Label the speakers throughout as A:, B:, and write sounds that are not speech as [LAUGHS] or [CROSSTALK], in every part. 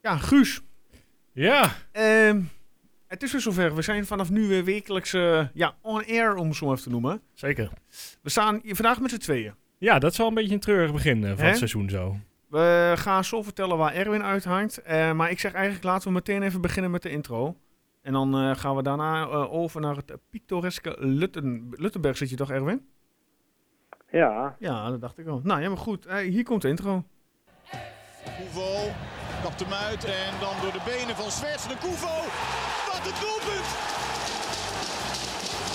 A: Ja, Guus.
B: Ja,
A: ehm, het is weer zover. We zijn vanaf nu weer wekelijks eh, ja, on-air, om het zo even te noemen.
B: zeker.
A: We staan hier vandaag met z'n tweeën.
B: Ja, dat is wel een beetje een treurig begin eh, van
A: Hè?
B: het seizoen zo.
A: We gaan zo vertellen waar Erwin uithangt. eh, maar ik zeg eigenlijk, laten we meteen even beginnen met de intro. En dan eh, gaan we daarna eh, over naar het pittoreske Lutten, Luttenberg. Zit je toch, Erwin?
C: Ja,
A: Ja, dat dacht ik al. Nou, ja, maar goed. eh, hier komt de intro.
D: Koevo kapt hem uit en dan door de benen van Zwerts de Koevo. Wat een doelpunt!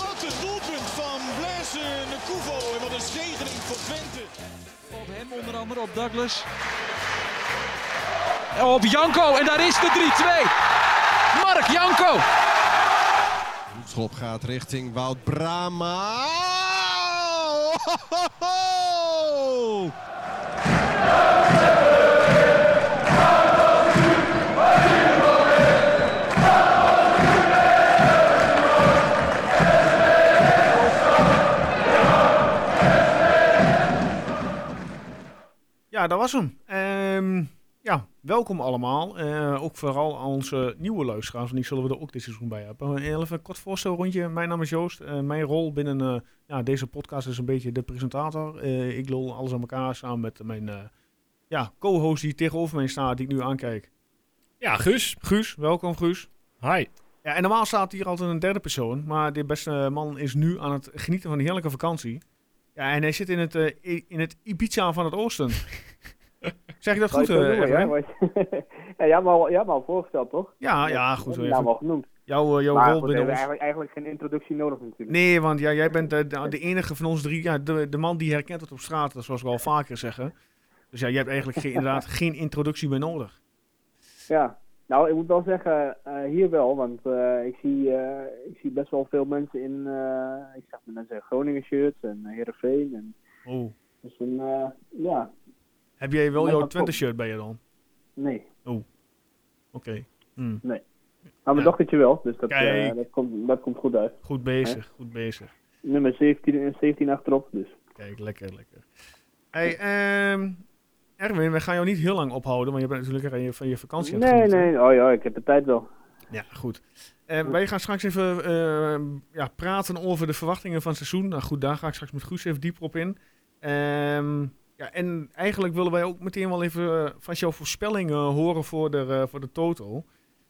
D: Wat een doelpunt van Blaise de Koevo en wat een zegening voor Twente.
E: Op hem onder andere, op Douglas. En Op Janko en daar is de 3-2. Mark Janko.
F: Schop gaat richting Wout Brama.
A: Ja, dat was hem. Ehm, ja, welkom allemaal. Eh, ook vooral aan onze nieuwe luisteraars, want die zullen we er ook dit seizoen bij hebben. Eh, Even een kort voorstelrondje. Mijn naam is Joost. Eh, mijn rol binnen eh, ja, deze podcast is een beetje de presentator. Eh, ik lul alles aan elkaar samen met mijn eh, ja, co-host die tegenover mij staat, die ik nu aankijk.
B: Ja, Guus.
A: Guus, welkom Guus.
B: Hi.
A: Ja, en normaal staat hier altijd een derde persoon, maar dit beste man is nu aan het genieten van een heerlijke vakantie. Ja, en hij zit in het, eh, i- in het Ibiza van het
C: [LAUGHS]
A: oosten. zeg ik dat goed,
C: wou je
A: eh,
C: het wel
A: Erwin?
C: noemen, ja, maar- [LAUGHS] ja, jij hebt me al, jij hebt me al voorgesteld, toch?
A: Ah, Ja, ja,
C: Ik
A: goed. Even.
C: heb die naam al genoemd.
A: Jouw, eh, jouw
C: maar
A: rol
C: goed, we
A: binnen
C: hebben
A: ons.
C: eigenlijk, eigenlijk geen introductie nodig natuurlijk.
A: Nee, want ja, jij bent eh, de, de enige van ons drie. Ja, de, de man die herkent het op straat, dat zoals we al vaker zeggen. Dus ja, jij hebt eigenlijk geen,
C: [LAUGHS]
A: inderdaad geen introductie meer nodig.
C: Ja. Nou, ik moet wel zeggen, eh, hier wel, want eh, ik, zie, eh, ik zie best wel veel mensen in, eh, ik zag mensen in Groningen shirts en eh, Heerenveen. En,
A: Oh.
C: dus een, eh, ja,
A: Heb jij wel
C: Nee,
A: jouw
C: dat
A: Twente
C: klopt.
A: shirt bij je dan?
C: nee. Nou,
A: Oké. Hm,
C: Maar mijn
A: Ja.
C: dochtertje wel, dus dat, eh,
A: Kijk.
C: dat, komt, dat komt goed uit.
A: Goed bezig, goed bezig.
C: Nummer 17 en 17 achterop, dus.
A: Kijk, lekker, lekker. Hey, ehm, Erwin, we gaan jou niet heel lang ophouden, want je bent natuurlijk aan je, van je vakantie aan het
C: Nee,
A: genieten.
C: nee, oh ja, ik heb de tijd wel.
A: Ja, goed. Eh, wij gaan straks even eh, ja, praten over de verwachtingen van het seizoen. Nou goed, daar ga ik straks met Guus even dieper op in. Ehm, ja, en eigenlijk willen wij ook meteen wel even eh, van jouw voorspellingen horen voor de, eh, voor de Toto.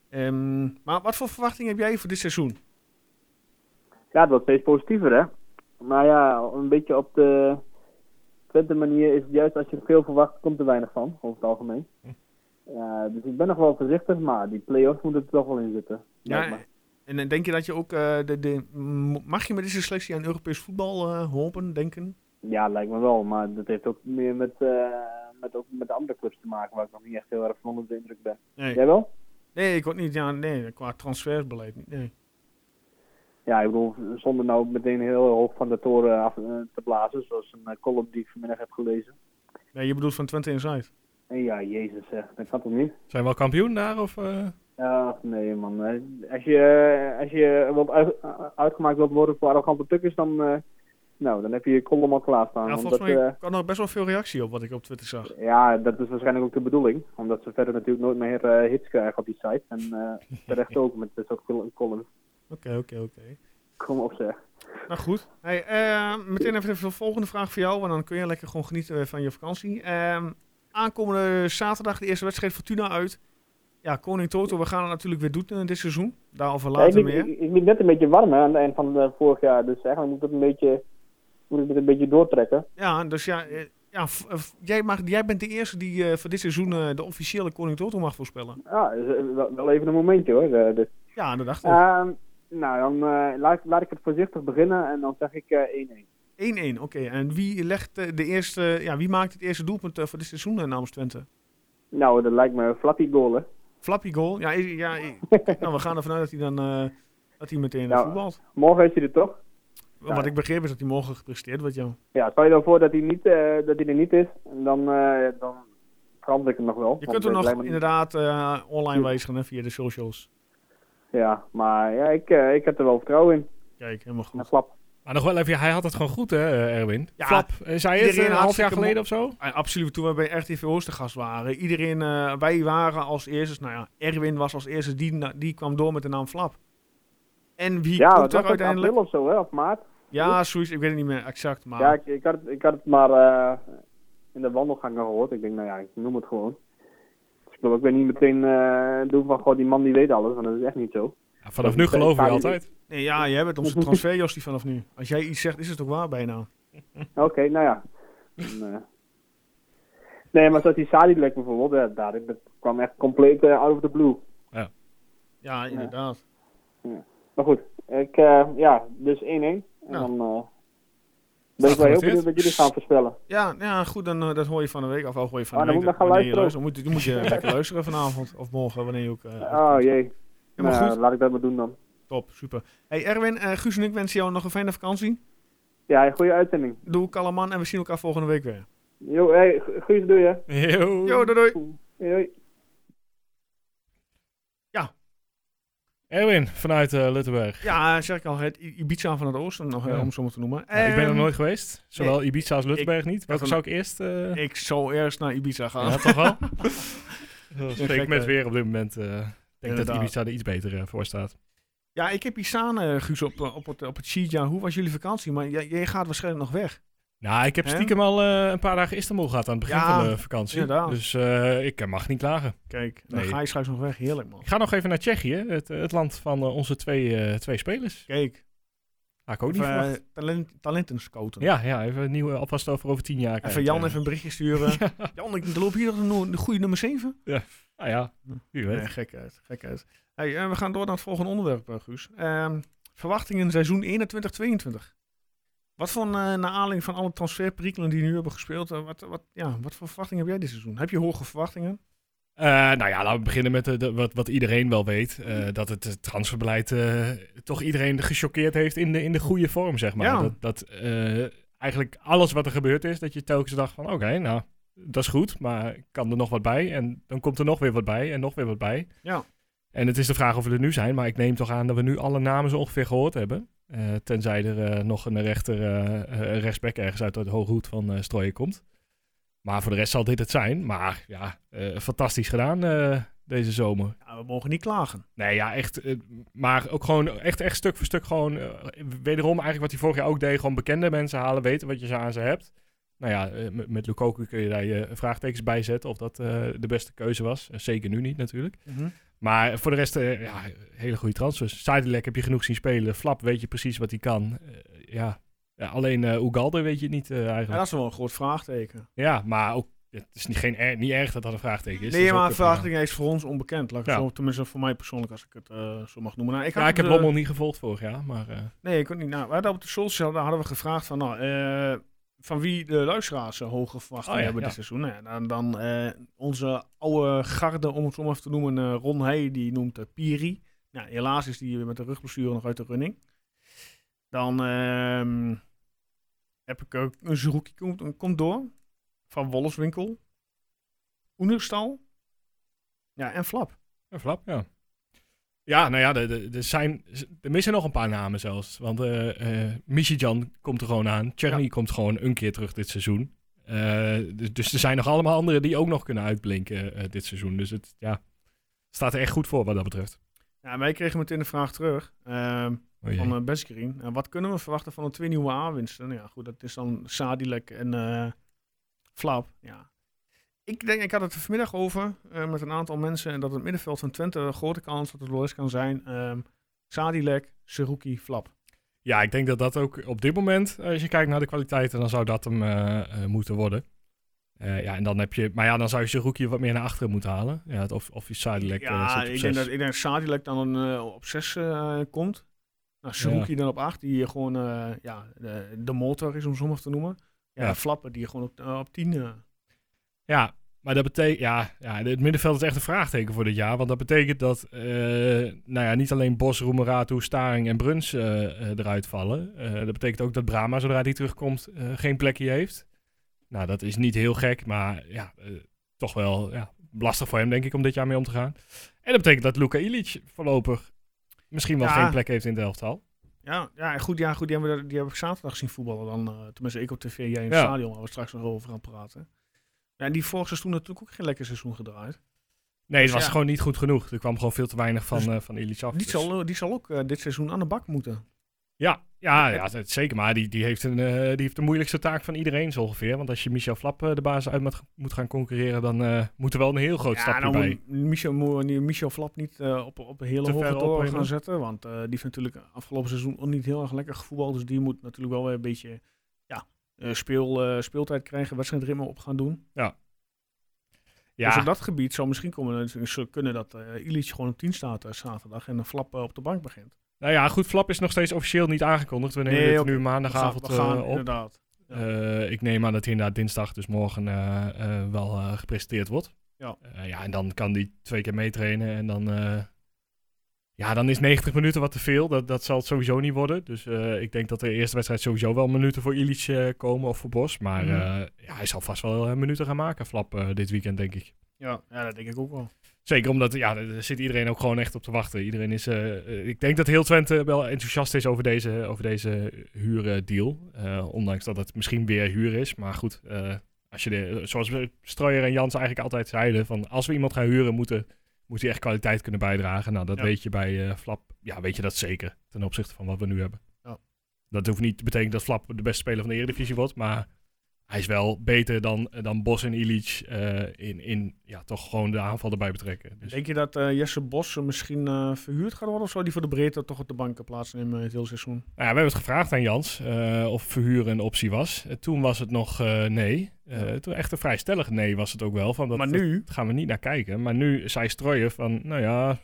A: Ehm, maar wat voor verwachtingen heb jij voor dit seizoen?
C: Ja, het wordt steeds positiever, hè? Maar ja, een beetje op de Twente manier is het juist als je veel verwacht, komt er weinig van, over het algemeen. Ja, dus ik ben nog wel voorzichtig, maar die play-offs moeten er toch wel in zitten. lijkt me.
A: en eh, denk je dat je ook... eh, de, de, m- mag je met deze selectie aan Europees voetbal eh, hopen, denken?
C: ja, lijkt me wel, maar dat heeft ook meer met, eh, met, ook met de andere clubs te maken, waar ik nog niet echt heel erg van onder de indruk ben.
A: Nee,
C: Jij wel?
A: nee ik ook niet. Ja, nee, qua transferbeleid niet. Nee.
C: Ja, ik bedoel, zonder nou meteen heel hoog van de toren af eh, te blazen, zoals een eh, column die ik vanmiddag heb gelezen.
A: Nee, je bedoelt van Twente Inside.
C: En ja, jezus zeg, dat kan toch niet?
B: Zijn we al kampioen daar? Of, eh?
C: Ja, nee man. Eh, Als je, eh, als je wilt uit- uitgemaakt wilt worden voor arrogante tukkers, dan, eh, nou, dan heb je je column al klaarstaan.
A: Ja,
C: omdat,
A: volgens mij
C: eh,
A: kwam er best wel veel reactie op wat ik op Twitter zag.
C: ja, dat is waarschijnlijk ook de bedoeling. Omdat ze verder natuurlijk nooit meer eh, hits krijgen op die site. En
A: [LAUGHS]
C: eh, terecht ook met dit soort col- columns.
A: Oké, oké, oké.
C: Kom op zeg.
A: Nou goed. Hey, eh, meteen even de volgende vraag voor jou, want dan kun je lekker gewoon genieten eh, van je vakantie. Ehm, aankomende zaterdag de eerste wedstrijd Fortuna uit. Ja, Koning Toto, we gaan het natuurlijk weer doen eh, dit seizoen. Daarover
C: Ja, ik,
A: later
C: liep,
A: meer.
C: ik, ik liep net een beetje warm hè, aan het eind van eh, vorig jaar. Dus eigenlijk moet ik het een beetje, moet ik het een beetje doortrekken.
A: Ja, dus ja, eh, ja f- eh, f- jij, mag, jij bent de eerste die eh, voor dit seizoen eh, de officiële Koning Toto mag voorspellen.
C: Ja, dus, eh, wel, wel even een momentje hoor. eh, dit.
A: Ja, dat dacht ik.
C: Ehm, nou, dan eh, laat, ik- laat ik het voorzichtig beginnen en dan zeg ik eh 1-1.
A: 1-1, oké. En wie, legt, eh, de eerste, ja, wie maakt het eerste doelpunt eh, voor dit seizoen eh, namens Twente?
C: Nou, dat lijkt me een flappy goal, hè.
A: Flappy goal. Ja, i-
C: [LAUGHS]
A: ja i- nou, we gaan ervan uit dat hij dan eh, dat hij meteen eh,
C: Ja.
A: voetbalt.
C: Morgen is hij er toch?
A: Wat ik begreep is dat hij morgen gepresteerd wordt, joh.
C: Ja, stel je dan voor dat hij, niet, eh, dat hij er niet is, en dan, eh, dan verander ik hem nog wel.
A: Je
C: Want
A: kunt hem
C: het
A: nog
C: lijkt me-
A: inderdaad eh, online wijzigen hè, via de socials.
C: Ja, maar ja, ik, eh, ik heb er wel vertrouwen in.
A: Kijk, helemaal
C: Een
A: goed.
C: flap.
B: Maar nog wel even, hij had het gewoon goed, hè, eh, Erwin?
A: Ja,
B: Flap, eh, zei je het
A: iedereen
B: een half jaar
A: hartstikke
B: geleden of zo?
A: Eh, absoluut, toen we bij RTV Oost te gast waren. Iedereen, eh, wij waren als eerste, nou ja, Erwin was als eerste, die, na- die kwam door met de naam Flap. En wie
C: ja,
A: komt
C: dat
A: er
C: was uiteindelijk...
A: uiteindelijk? Ah.
C: april of zo, hè, of maart.
A: Ja, zoiets, ik weet het niet meer exact, maar...
C: Ja, ik, ik, had, het- ik had het maar eh, in de wandelgangen gehoord. Ik denk, nou ja, ik noem het gewoon. Dus ik wil ook weer niet meteen eh, doen van, goh, die man die weet alles. Want dat is echt niet zo.
B: Ja, vanaf nu geloven we je altijd.
A: Nee, ja, jij bent
C: [LAUGHS]
A: onze transfer, Jostie, vanaf nu. Als jij iets zegt, is het ook waar bijna.
C: Oké, nou ja. Dan, eh. Nee, maar zoals die Sadilek bijvoorbeeld, eh, daar, dat kwam echt compleet eh, out of the blue.
A: Ja, inderdaad.
C: Maar goed, ik, eh, ja, dus 1-1. En
A: Ja.
C: dan eh, ben
B: Staat
C: ik wel heel
B: genoteerd.
C: benieuwd wat jullie gaan voorspellen.
A: Ja, ja goed, dan eh, dat hoor je van de week af. Of hoor je van
C: Oh,
A: de
C: dan
A: week.
C: moet ik nog gaan
A: wanneer je
C: luisteren.
A: luistert. Dan moet, je- dan moet je lekker luisteren vanavond of morgen, wanneer je ook... eh,
C: Oh jee.
A: Ja, maar
C: nou,
A: goed.
C: laat ik dat maar doen dan.
A: Top, super. Hey Erwin, eh, Guus en ik wensen jou nog een fijne vakantie.
C: Ja, goede uitzending.
A: Doe Kalaman en we zien elkaar volgende week weer.
C: Yo, hey, Gu- Guus, doe je.
B: Yo.
A: Yo, doei doei.
C: Hoi, hoi.
B: Erwin, vanuit eh Luttenberg.
A: Ja, zeg ik al, het I- Ibiza van het Oosten, nog, eh,
B: Ja.
A: om het zo maar te noemen.
B: Nou, ik ben er
A: Ehm,
B: nooit geweest. Zowel Ibiza als Luttenberg niet. Welke
A: een-
B: zou ik eerst... eh
A: Ik zou eerst naar Ibiza gaan.
B: Ja, toch [LAUGHS] wel? Dat
A: gek,
B: spreekt met
A: hè?
B: weer op dit moment. eh, Ik denk dat
A: Inderdaad.
B: Ibiza er iets beter eh, voor staat.
A: Ja, ik heb hier staan, eh, Guus, op, op het, op het sheet. Ja, hoe was jullie vakantie? Maar jij, jij gaat waarschijnlijk nog weg.
B: Nou, ik heb
A: Hè?
B: stiekem al eh, een paar dagen Istanbul gehad aan het begin
A: Ja,
B: van de vakantie.
A: inderdaad.
B: Dus eh, ik eh, mag niet klagen.
A: Kijk, dan
B: Nee.
A: ga je straks nog weg. Heerlijk, man.
B: Ik ga nog even naar Tsjechië, het, eh, het land van eh, onze twee, eh, twee spelers.
A: Kijk,
B: Had ik ook niet
A: even, eh,
B: verwacht.
A: talent, talenten scouten.
B: Ja, ja, even een nieuwe alvast over over tien jaar.
A: Even
B: kijken.
A: Jan even een berichtje
B: [LAUGHS]
A: sturen.
B: Ja.
A: Jan, ik loop hier nog een no- de goede nummer 7.
B: Nou ja, wie weet.
A: Nee, gekheid, gekheid. Hey, eh, we gaan door naar het volgende onderwerp, eh, Guus. Ehm, verwachtingen seizoen 21-22. Wat voor, eh naar aanleiding van alle transferperikelen die nu hebben gespeeld, eh, wat, wat, ja, wat voor verwachtingen heb jij dit seizoen? Heb je hoge verwachtingen?
B: Eh, nou ja, laten we beginnen met de, de- wat, wat iedereen wel weet. eh,
A: Mm.
B: dat het eh, transferbeleid eh, toch iedereen gechoqueerd heeft in de, in de goede vorm, zeg maar.
A: Ja.
B: Dat, dat eh, eigenlijk alles wat er gebeurd is, dat je telkens dacht van... Oké, nou, dat is goed, maar kan er nog wat bij? En dan komt er nog weer wat bij en nog weer wat bij.
A: Ja.
B: En het is de vraag of we er nu zijn, maar ik neem toch aan dat we nu alle namen zo ongeveer gehoord hebben. Eh, tenzij er eh, nog een rechter, eh, eh, rechtsback ergens uit de hoge hoed van eh strooien komt. Maar voor de rest zal dit het zijn. Maar ja, eh, fantastisch gedaan eh, deze zomer.
A: Ja, we mogen niet klagen.
B: Nee, ja, echt. eh, maar ook gewoon echt, echt stuk voor stuk gewoon... eh, wederom eigenlijk wat hij vorig jaar ook deed. Gewoon bekende mensen halen, weten wat je ze aan ze hebt. Nou ja, eh, met, met Lukaku kun je daar je vraagtekens bij zetten of dat eh, de beste keuze was. Eh, zeker nu niet natuurlijk. Maar voor de rest, eh, ja, hele goede transfers. Sidelek heb je genoeg zien spelen. Flap weet je precies wat hij kan. Eh, ja. Ja, alleen eh Ugalde weet je het niet eh,
A: Ja,
B: eigenlijk.
A: dat is wel een groot vraagteken.
B: Ja, maar ook, het is niet, geen, er- niet erg dat dat een vraagteken is. Dat
A: Nee,
B: is ook
A: maar
B: prima.
A: verwachting is voor ons onbekend. Laat ik het
B: Ja.
A: zo, tenminste voor mij persoonlijk, als ik het eh, zo mag noemen. Nou, ik had
B: Ja, ik
A: het,
B: heb
A: eh,
B: Lommel niet gevolgd vorig jaar, maar... eh,
A: Nee, ik kon niet. Nou, we hadden op de Solskjaer, daar hadden we gevraagd van, nou, eh, van wie de luisteraars eh, hoge verwachtingen
B: Oh ja,
A: hebben dit
B: ja.
A: seizoen. Nou ja, dan dan eh, onze oude garde, om het zo maar even te noemen, eh, Ron Heij, die noemt eh, Piri. Nou, helaas is die weer met de rugblessure nog uit de running. Dan ehm, heb ik ook een Zeroekie komt, komt door van Wolleswinkel, Oenerstal, ja, en Flap.
B: een flap, ja. Ja, nou ja, er- er- er zijn, er missen nog een paar namen zelfs. Want eh eh Michijan komt er gewoon aan. Cherny komt gewoon een keer terug dit seizoen. Eh, dus, dus er zijn nog allemaal anderen die ook nog kunnen uitblinken eh, dit seizoen. Dus het ja, staat er echt goed voor wat dat betreft.
A: Ja, wij kregen meteen de vraag terug. ehm,
B: Oh jee.
A: van uh, Beskerin. Eh, wat kunnen we verwachten van de twee nieuwe aanwinsten? Nou ja, goed, dat is dan Sadilek en eh, Flap. Ja. Ik denk, ik had het er vanmiddag over eh, met een aantal mensen. En dat het middenveld van Twente een grote kans dat het wel eens kan zijn. ehm Sadilek, Seruki, Flap.
B: Ja, ik denk dat dat ook op dit moment, eh, als je kijkt naar de kwaliteiten, dan zou dat hem eh, eh, moeten worden. Eh, ja, en dan heb je, maar ja, dan zou je Zerouki wat meer naar achteren moeten halen. Ja, het of, of je Sidelec. eh,
A: ja,
B: zit op
A: ik
B: zes.
A: denk, dat, ik denk dat Sadilek dan eh, op 6 komt. Nou, Seruki dan op 8, die hier gewoon eh, ja, de, de motor is om zo maar te noemen. Ja,
B: Ja.
A: en Flappen die gewoon op, eh, op 10. eh,
B: Ja, maar dat betekent, ja, ja, het middenveld is echt een vraagteken voor dit jaar. Want dat betekent dat, eh, nou ja, niet alleen Bos, Roemeratu, Staring en Bruns eh, eh, eruit vallen. Eh, dat betekent ook dat Brahma, zodra die terugkomt, eh, geen plekje heeft. Nou, dat is niet heel gek, maar ja, eh, toch wel ja, lastig voor hem, denk ik, om dit jaar mee om te gaan. En dat betekent dat Luka Ilic voorlopig misschien wel
A: Ja.
B: geen plek heeft in het elftal.
A: Ja, ja, goed, ja, goed die, hebben we, die heb ik zaterdag zien voetballen dan. eh, tenminste, ik op tv, jij in het
B: Ja.
A: stadion, waar we straks nog over gaan praten. Ja, en die vorig seizoen natuurlijk ook geen lekker seizoen gedraaid.
B: Nee, het was
A: Dus Ja.
B: gewoon niet goed genoeg. Er kwam gewoon veel te weinig van,
A: Dus
B: eh van Illich af.
A: Die
B: Dus- Oh,
A: zal, die zal ook eh, dit seizoen aan de bak moeten.
B: Ja, ja, ja dat- zeker. Maar die, die, heeft een, eh, die heeft de moeilijkste taak van iedereen zo ongeveer. Want als je Michel Flap eh, de baas uit moet- moet gaan concurreren, dan eh, moet er wel een heel groot
A: Ja,
B: stapje
A: nou
B: bij.
A: moet Michel, moet Michel Flap niet eh, op, op een hele
B: Te
A: hoge
B: ver
A: toren
B: opbrengen.
A: gaan zetten. Want eh, die heeft natuurlijk afgelopen seizoen ook niet heel erg lekker gevoetbald. Dus die moet natuurlijk wel weer een beetje ja, eh, speel, eh, speeltijd krijgen, wedstrijdritme op gaan doen.
B: ja,
A: Dus op dat gebied zou misschien komen, ze kunnen dat eh Illich gewoon op 10 staat eh, zaterdag en een flap eh, op de bank begint.
B: nou ja, goed. Flap is nog steeds officieel niet aangekondigd. We nemen
A: Nee,
B: dit
A: oké.
B: nu
A: We
B: maandagavond
A: gaan- we gaan
B: eh, op.
A: inderdaad. ja.
B: Eh, ik neem aan dat hij inderdaad dinsdag, dus morgen, eh, eh, wel eh, gepresenteerd wordt.
A: Ja.
B: Eh, ja, en dan kan hij twee keer meetrainen en dan... eh, ja, dan is 90 minuten wat te veel. Dat, dat zal het sowieso niet worden. Dus eh, ik denk dat de eerste wedstrijd sowieso wel minuten voor Illich eh, komen of voor Bos. Maar
A: Mhm.
B: eh, ja, hij zal vast wel eh, minuten gaan maken, Flap, eh, dit weekend, denk ik.
A: Ja, ja, dat denk ik ook wel.
B: Zeker omdat, ja, daar zit iedereen ook gewoon echt op te wachten. Iedereen is, eh, eh, ik denk dat heel Twente wel enthousiast is over deze, over deze huurdeal. Eh, ondanks dat het misschien weer huur is. Maar goed, eh, als je de, zoals we- Strooijer en Jans eigenlijk altijd zeiden, van als we iemand gaan huren, moeten, moet hij echt kwaliteit kunnen bijdragen. Nou, dat
A: Ja.
B: weet je bij eh, Flap, ja, weet je dat zeker ten opzichte van wat we nu hebben.
A: Ja.
B: Dat hoeft niet te betekenen dat Flap de beste speler van de Eredivisie wordt, maar hij is wel beter dan, dan Bos en Illich eh, in, in ja, toch gewoon de aanval erbij betrekken. Dus,
A: Denk je dat eh, Jesse Bos eh, misschien eh, verhuurd gaat worden of zo? Die voor de breedte toch op de bank kan plaatsnemen eh, het hele seizoen.
B: nou ja, we hebben het gevraagd aan Jans eh, of verhuren een optie was. Eh, toen was het nog eh, nee. Eh, toen echt een vrij stellig nee was het ook wel. Van dat,
A: maar nu,
B: dat gaan we niet naar kijken. Maar nu zei Strooijer van, nou ja,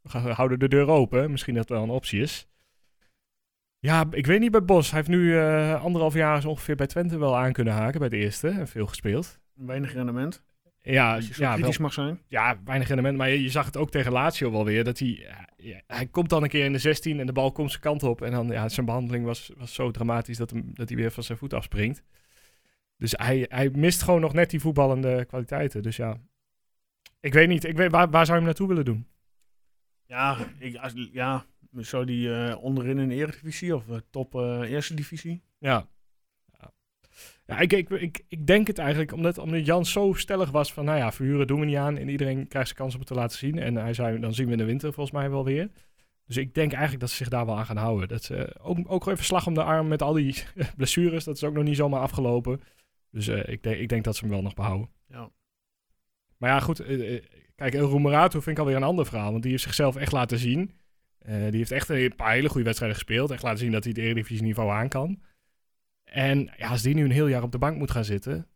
B: we gaan- we houden de deur open. Misschien dat wel een optie is. Ja, ik weet niet bij Bos. Hij heeft nu eh, anderhalf jaar is ongeveer bij Twente wel aan kunnen haken bij de eerste. En veel gespeeld.
A: weinig rendement.
B: Ja,
A: Als je zo
B: ja wel-
A: kritisch mag zijn.
B: ja, weinig rendement. Maar je, je zag het ook tegen Lazio wel weer. Dat hij, ja, ja, hij komt dan een keer in de 16 en de bal komt zijn kant op. En dan, ja, zijn behandeling was, was zo dramatisch dat, hem, dat hij weer van zijn voet afspringt. Dus hij, hij mist gewoon nog net die voetballende kwaliteiten. Dus ja, ik weet niet. Ik weet, waar, waar zou je hem naartoe willen doen?
A: Ja, ik, als, ja zou die eh, onderin in de Eredivisie of eh, top eh, Eerste Divisie?
B: Ja. Ja, ik, ik, ik, ik denk het eigenlijk, omdat, omdat Jan zo stellig was van, nou ja, verhuren doen we niet aan. En iedereen krijgt zijn kans om het te laten zien. En hij zei, dan zien we in de winter volgens mij wel weer. Dus ik denk eigenlijk dat ze zich daar wel aan gaan houden. Dat ze, eh, ook, ook even slag om de arm met al die [LAUGHS] blessures. Dat is ook nog niet zomaar afgelopen. Dus eh, ik, denk, ik denk dat ze hem wel nog behouden.
A: Ja.
B: Maar ja, goed. eh, eh, kijk, El Roemerato vind ik alweer een ander verhaal. Want die heeft zichzelf echt laten zien. Eh, die heeft echt een paar hele goede wedstrijden gespeeld. Echt laten zien dat hij het Eredivisie niveau aan kan. En ja, als die nu een heel jaar op de bank moet gaan zitten.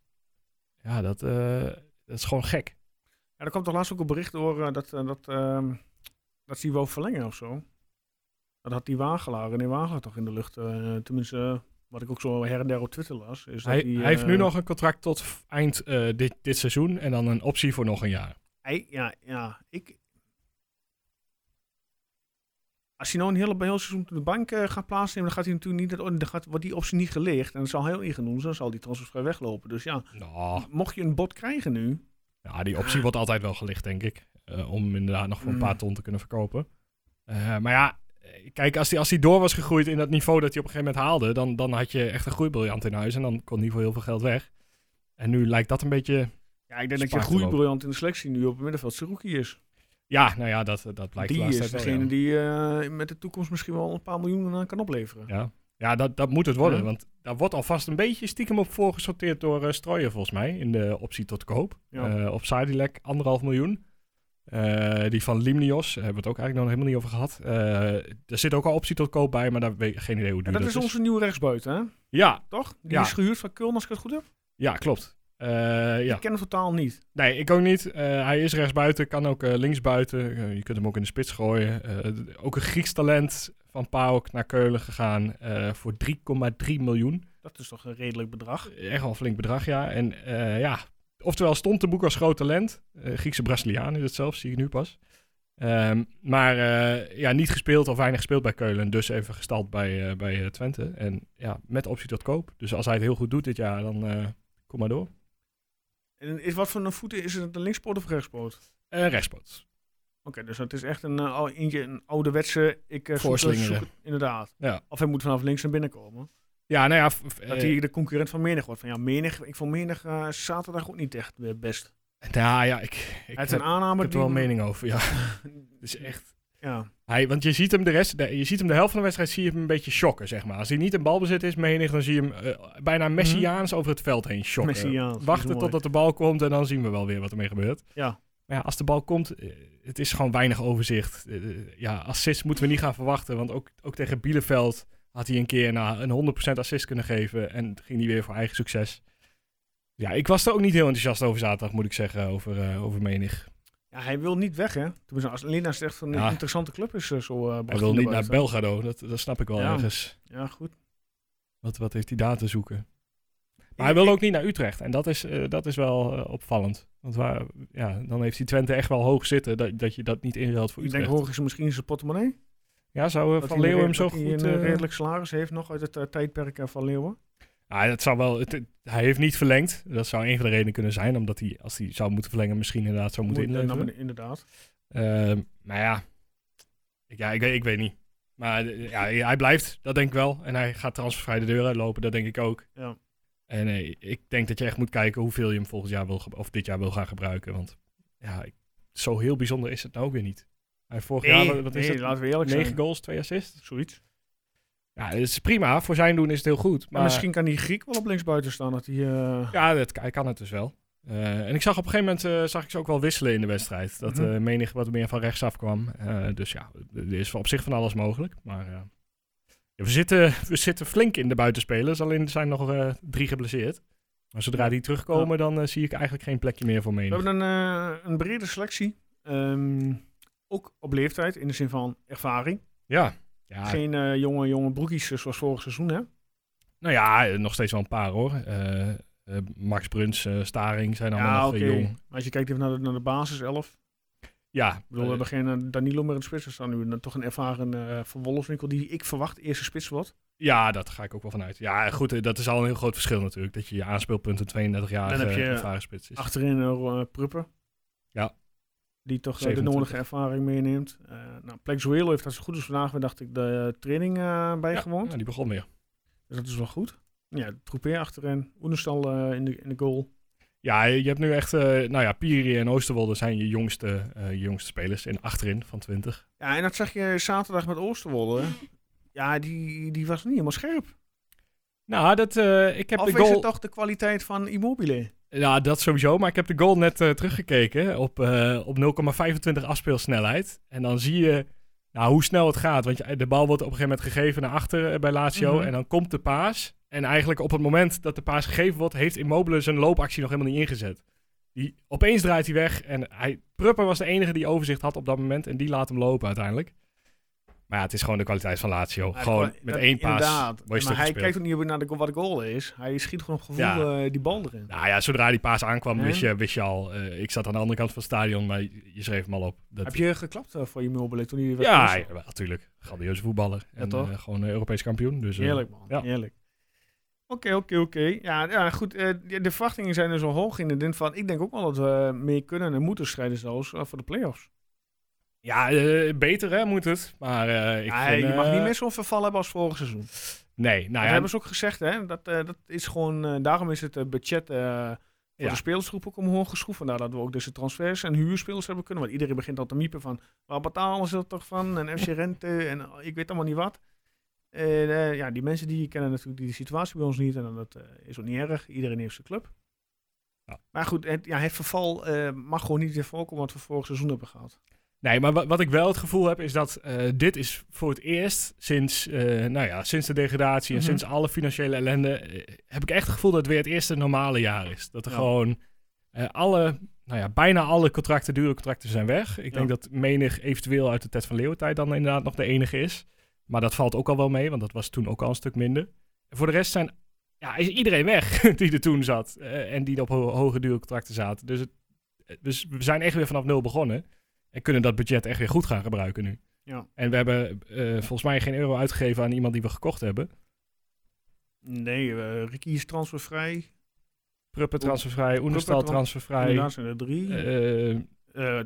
B: Ja, dat, eh, dat is gewoon gek.
A: Ja, er kwam toch laatst ook een bericht door eh, dat, eh, dat, ehm, dat ze die wou verlengen of zo. Dat had die Wagelaar, René Wagelaar toch in de lucht. eh, tenminste, eh, wat ik ook zo her en der op Twitter las. Is
B: Dus Hij,
A: dat die,
B: hij heeft nu
A: eh,
B: nog een contract tot f- eind eh, dit, dit seizoen. En dan een optie voor nog een jaar.
A: Hij, ja, ja, ik... Als hij nou een hele een heel seizoen op de bank eh, gaat plaatsnemen, dan gaat hij natuurlijk niet, dat- dan gaat, wordt die optie niet gelicht. En dat zal heel ingedoen zijn, dan zal die transfervrij weglopen. Dus ja,
B: Nou,
A: mocht je een bod krijgen nu,
B: ja, die optie wordt altijd wel gelicht, denk ik. Eh, om hem inderdaad nog voor een
A: Mm.
B: paar ton te kunnen verkopen. Eh, maar ja, eh, kijk, als hij als die door was gegroeid in dat niveau dat hij op een gegeven moment haalde. Dan, dan had je echt een groeibriljant in huis. En dan kon hij voor heel veel geld weg. En nu lijkt dat een beetje...
A: ja, ik denk dat je
B: Spaart te
A: groeibriljant in de selectie nu op het middenveld Seruki is.
B: Ja, nou ja, dat, dat blijkt de
A: die
B: laatste
A: is
B: tijd wel, ja.
A: degene die eh, met de toekomst misschien wel een paar miljoenen aan kan opleveren.
B: Ja, ja dat, dat moet het worden.
A: Ja.
B: Want daar wordt alvast een beetje stiekem op voorgesorteerd door eh Strooijer, volgens mij. In de optie tot koop.
A: Ja.
B: Eh, op Sadilek, anderhalf miljoen. Eh, die van Limnios, daar hebben we het ook eigenlijk nog helemaal niet over gehad. Eh er zit ook al optie tot koop bij, maar daar weet ik geen idee hoe
A: En
B: duur
A: dat is onze nieuwe rechtsbuiten, hè?
B: Ja,
A: toch? Die
B: Ja.
A: is gehuurd van Köln, als ik het goed heb.
B: ja klopt. Eh, ja.
A: Ik ken hem totaal niet.
B: Nee, ik ook niet. Eh, hij is rechtsbuiten, kan ook links linksbuiten. Eh, je kunt hem ook in de spits gooien. Eh, d- ook een Grieks talent van PAOK naar Keulen gegaan eh, voor 3,3 miljoen.
A: Dat is toch een redelijk bedrag.
B: echt wel een flink bedrag, ja. En eh, ja, oftewel stond de boek als groot talent. Eh, Griekse Braziliaan is het zelf, zie ik nu pas. Ehm, maar eh, ja, niet gespeeld of weinig gespeeld bij Keulen. Dus even gestald bij, eh, bij eh, Twente. En ja, met optie tot koop. Dus als hij het heel goed doet dit jaar, dan eh, kom maar door.
A: En is wat voor een voeten is het een linkspoot of rechtspoot?
B: Eh rechtspoot.
A: dus het is echt een, eh, al- eentje, een ouderwetse... Ik, eh, zoek-
B: Voorslingeren.
A: zoek het- inderdaad.
B: Ja.
A: Of hij moet vanaf links naar binnen komen.
B: Ja, nou ja. f- f-
A: Dat
B: eh,
A: hij de concurrent van Menig wordt. Van, ja, Menig, ik vond Menig eh, zaterdag ook niet echt eh, best.
B: nou ja, ik, ik
A: Hij heeft
B: heb,
A: een aanname
B: ik heb er wel
A: die- [LAUGHS] Dus,
B: mening over. Ja. [LAUGHS] Het is echt.
A: Ja,
B: Hij, want je ziet hem de rest, de- je ziet hem de helft van de wedstrijd, zie je hem een beetje shocken, zeg maar. Als hij niet in balbezit is, menig, dan zie je hem eh, bijna messiaans over het veld heen shocken.
A: Mhm. Messiaans, is
B: Wachten
A: mooi.
B: totdat de bal komt en dan zien we wel weer wat ermee gebeurt.
A: Ja.
B: Maar ja, als de bal komt, eh, het is gewoon weinig overzicht. Eh, eh, ja, assists moeten we niet gaan verwachten, want ook, ook tegen Bielefeld had hij een keer nou, een 100% assist kunnen geven en ging hij weer voor eigen succes. Ja, ik was er ook niet heel enthousiast over zaterdag, moet ik zeggen, over, eh, over menig.
A: ja, hij wil niet weg, hè. Tenminste, als Lina zegt van
B: Ja.
A: een interessante club is eh, zo... eh,
B: Hij
A: bracht
B: wil niet
A: erbij.
B: naar Belgrado, dat, dat snap ik wel
A: Ja.
B: ergens.
A: Ja, goed.
B: Wat, wat heeft hij daar te zoeken? Maar hij wil ook niet naar Utrecht. En dat is, eh, dat is wel eh, opvallend. Want waar, ja, dan heeft hij Twente echt wel hoog zitten. Dat, dat je dat niet inruilt voor
A: Ik denk,
B: Utrecht.
A: horen ze misschien in zijn portemonnee?
B: ja, zou eh,
A: Dat hij
B: Van
A: een
B: Leeuwen hem
A: re-
B: zo
A: dat hij
B: goed...
A: een eh,
B: eh,
A: redelijk salaris heeft nog uit het eh, tijdperk eh, van Leeuwen.
B: ah, dat zou wel, het- het- hij heeft niet verlengd. Dat zou een van de redenen kunnen zijn. Omdat hij, als hij zou moeten verlengen, misschien inderdaad zou moeten
A: Moet- eh,
B: inleveren.
A: nou, Inderdaad.
B: Ehm, maar ja, ik, ja ik, weet- ik weet niet. Maar eh, ja, hij hij blijft, dat denk ik wel. En hij gaat transfervrij de deur uitlopen, dat denk ik ook.
A: Ja.
B: En eh, ik denk dat je echt moet kijken hoeveel je hem volgend jaar wil, ge- of dit jaar wil gaan gebruiken. Want ja, ik- zo heel bijzonder is het nou ook weer niet. Hij heeft vorig jaar, wat- wat is
A: nee,
B: het?
A: laten we eerlijk
B: 9
A: zijn.
B: goals, 2 assists.
A: Zoiets.
B: Ja, dat is prima. Voor zijn doen is het heel goed.
A: Maar
B: Maar
A: misschien kan die Griek wel op linksbuiten staan. Dat hij, eh,
B: Ja, dat, hij kan het dus wel. Eh, en ik zag op een gegeven moment eh, zag ik ze ook wel wisselen in de wedstrijd. Dat
A: Mhm.
B: eh, menig wat meer van rechtsaf kwam. Eh, dus ja, er is op zich van alles mogelijk. Maar eh, ja, we, zitten, we zitten flink in de buitenspelers. Alleen er zijn nog eh, drie geblesseerd. Maar zodra die terugkomen, dan eh, zie ik eigenlijk geen plekje meer voor
A: We
B: menig.
A: hebben een, eh, een brede selectie. Ehm, ook op leeftijd, in de zin van ervaring.
B: Ja. ja
A: Geen eh, jonge, jonge broekies eh, zoals vorig seizoen. Hè?
B: nou ja, eh, nog steeds wel een paar hoor. Eh, eh, Max Bruns, eh, Staring zijn allemaal nog eh, jong.
A: Maar Als je kijkt even naar de, naar de basis 11. Ik
B: Ja, ik
A: bedoel, we hebben geen eh, Danilo meer in de spits. Er staan nu dan toch een ervaren eh, Van Wolfswinkel die ik verwacht eerste spits wordt.
B: Ja, dat ga ik ook wel vanuit. Ja, goed, eh, dat is al een heel groot verschil natuurlijk. Dat je je aanspeelpunt een 32 jaar
A: Dan heb je
B: ervaren spits is.
A: Achterin eh, Ro- eh, Pruppen.
B: Ja.
A: Die toch eh, de
B: 27.
A: nodige ervaring meeneemt. Eh nou, Plexuelo heeft dat zo goed als vandaag weer, dacht ik, de training eh,
B: Ja,
A: bijgewoond.
B: ja, die begon weer.
A: Dus dat is wel goed. Ja, Troepé achterin. Oenestal eh, in, de, in de goal.
B: Ja, je je hebt nu echt, eh, nou ja, Piri en Oosterwolde zijn je jongste, eh, je jongste spelers in achterin van 20.
A: Ja, en dat zag je zaterdag met Oosterwolde. Ja, die, die was niet helemaal scherp.
B: Nou, dat, eh, ik heb
A: of
B: de
A: is
B: goal...
A: het toch de kwaliteit van Immobile?
B: Ja, dat sowieso. Maar ik heb de goal net eh, teruggekeken op, eh, op 0,25 afspeelsnelheid. En dan zie je nou, hoe snel het gaat. Want je- de bal wordt op een gegeven moment gegeven naar achter eh, bij Lazio.
A: Mhm.
B: En dan komt de paas. En eigenlijk op het moment dat de paas gegeven wordt, heeft Immobile zijn loopactie nog helemaal niet ingezet. Die, opeens draait hij weg. En hij, Prupper was de enige die overzicht had op dat moment. En die laat hem lopen uiteindelijk. Maar ja, het is gewoon de kwaliteit van Lazio.
A: Ja,
B: gewoon
A: de kwa-
B: met
A: dat-
B: één paas
A: Inderdaad.
B: word je
A: Maar hij
B: stukgespeeld.
A: kijkt ook niet op naar de, wat de goal is. Hij schiet gewoon op gevoel
B: Ja.
A: eh, die bal erin.
B: Nou ja, zodra die paas aankwam,
A: Ja.
B: wist je, wist je al. eh, ik zat aan de andere kant van het stadion, maar je je schreef hem al op. Dat,
A: Heb je geklapt eh, voor Immobile toen hij werd
B: ja,
A: gewisseld?
B: ja, wel, natuurlijk. Grandioze voetballer. en
A: toch?
B: eh, gewoon eh, Europees kampioen. Dus, eh,
A: Heerlijk, man.
B: ja.
A: Heerlijk. Oké, oké, oké. Ja, ja, goed. eh, de de verwachtingen zijn dus al hoog in de zin van... Ik denk ook wel dat we eh, meer kunnen en moeten strijden zelfs eh, voor de play-offs.
B: Ja, eh, beter hè, moet het. Maar eh, ik
A: Ja,
B: vind,
A: je mag
B: eh,
A: niet meer zo'n verval hebben als vorig seizoen. dat
B: Nee, nou ja,
A: hebben ze ook gezegd, hè. Dat, eh, dat is gewoon... eh, daarom is het eh, budget eh, voor
B: Ja.
A: de spelersgroep ook omhoog geschroefd. Vandaar dat we ook deze transfers en huurspelers hebben kunnen. Want iedereen begint al te miepen van... Waar betalen ze dat toch van? En FC Rente en eh, ik weet allemaal niet wat. En, eh, ja, die mensen die kennen natuurlijk die situatie bij ons niet. En dan dat eh, is ook niet erg. Iedereen heeft zijn club. Maar goed, het, ja, het verval eh, mag gewoon niet weer voorkomen wat we vorig seizoen hebben gehad.
B: Nee, maar wa- wat ik wel het gevoel heb is dat eh, dit is voor het eerst sinds, eh, nou ja, sinds de degradatie en
A: Mhm.
B: sinds alle financiële ellende, eh, heb ik echt het gevoel dat het weer het eerste normale jaar is. Dat er
A: Ja.
B: gewoon eh, alle, nou ja, bijna alle contracten, dure contracten zijn weg. Ik denk
A: Ja.
B: dat menig eventueel uit de Ted van Leeuwentijd dan inderdaad nog de enige is. Maar dat valt ook al wel mee, want dat was toen ook al een stuk minder. En voor de rest zijn, ja, is iedereen weg [LAUGHS] die er toen zat eh, en die op ho- hoge dure contracten zaten. Dus, het, dus we zijn echt weer vanaf nul begonnen. En kunnen dat budget echt weer goed gaan gebruiken nu.
A: Ja.
B: En we hebben eh, volgens mij geen euro uitgegeven aan iemand die we gekocht hebben.
A: Nee, eh, Ricky is transfervrij.
B: Pruppen transfervrij, Oenestal
A: Pruppen tran-
B: transfervrij.
A: Inderdaad zijn er drie.
B: eh,
A: eh,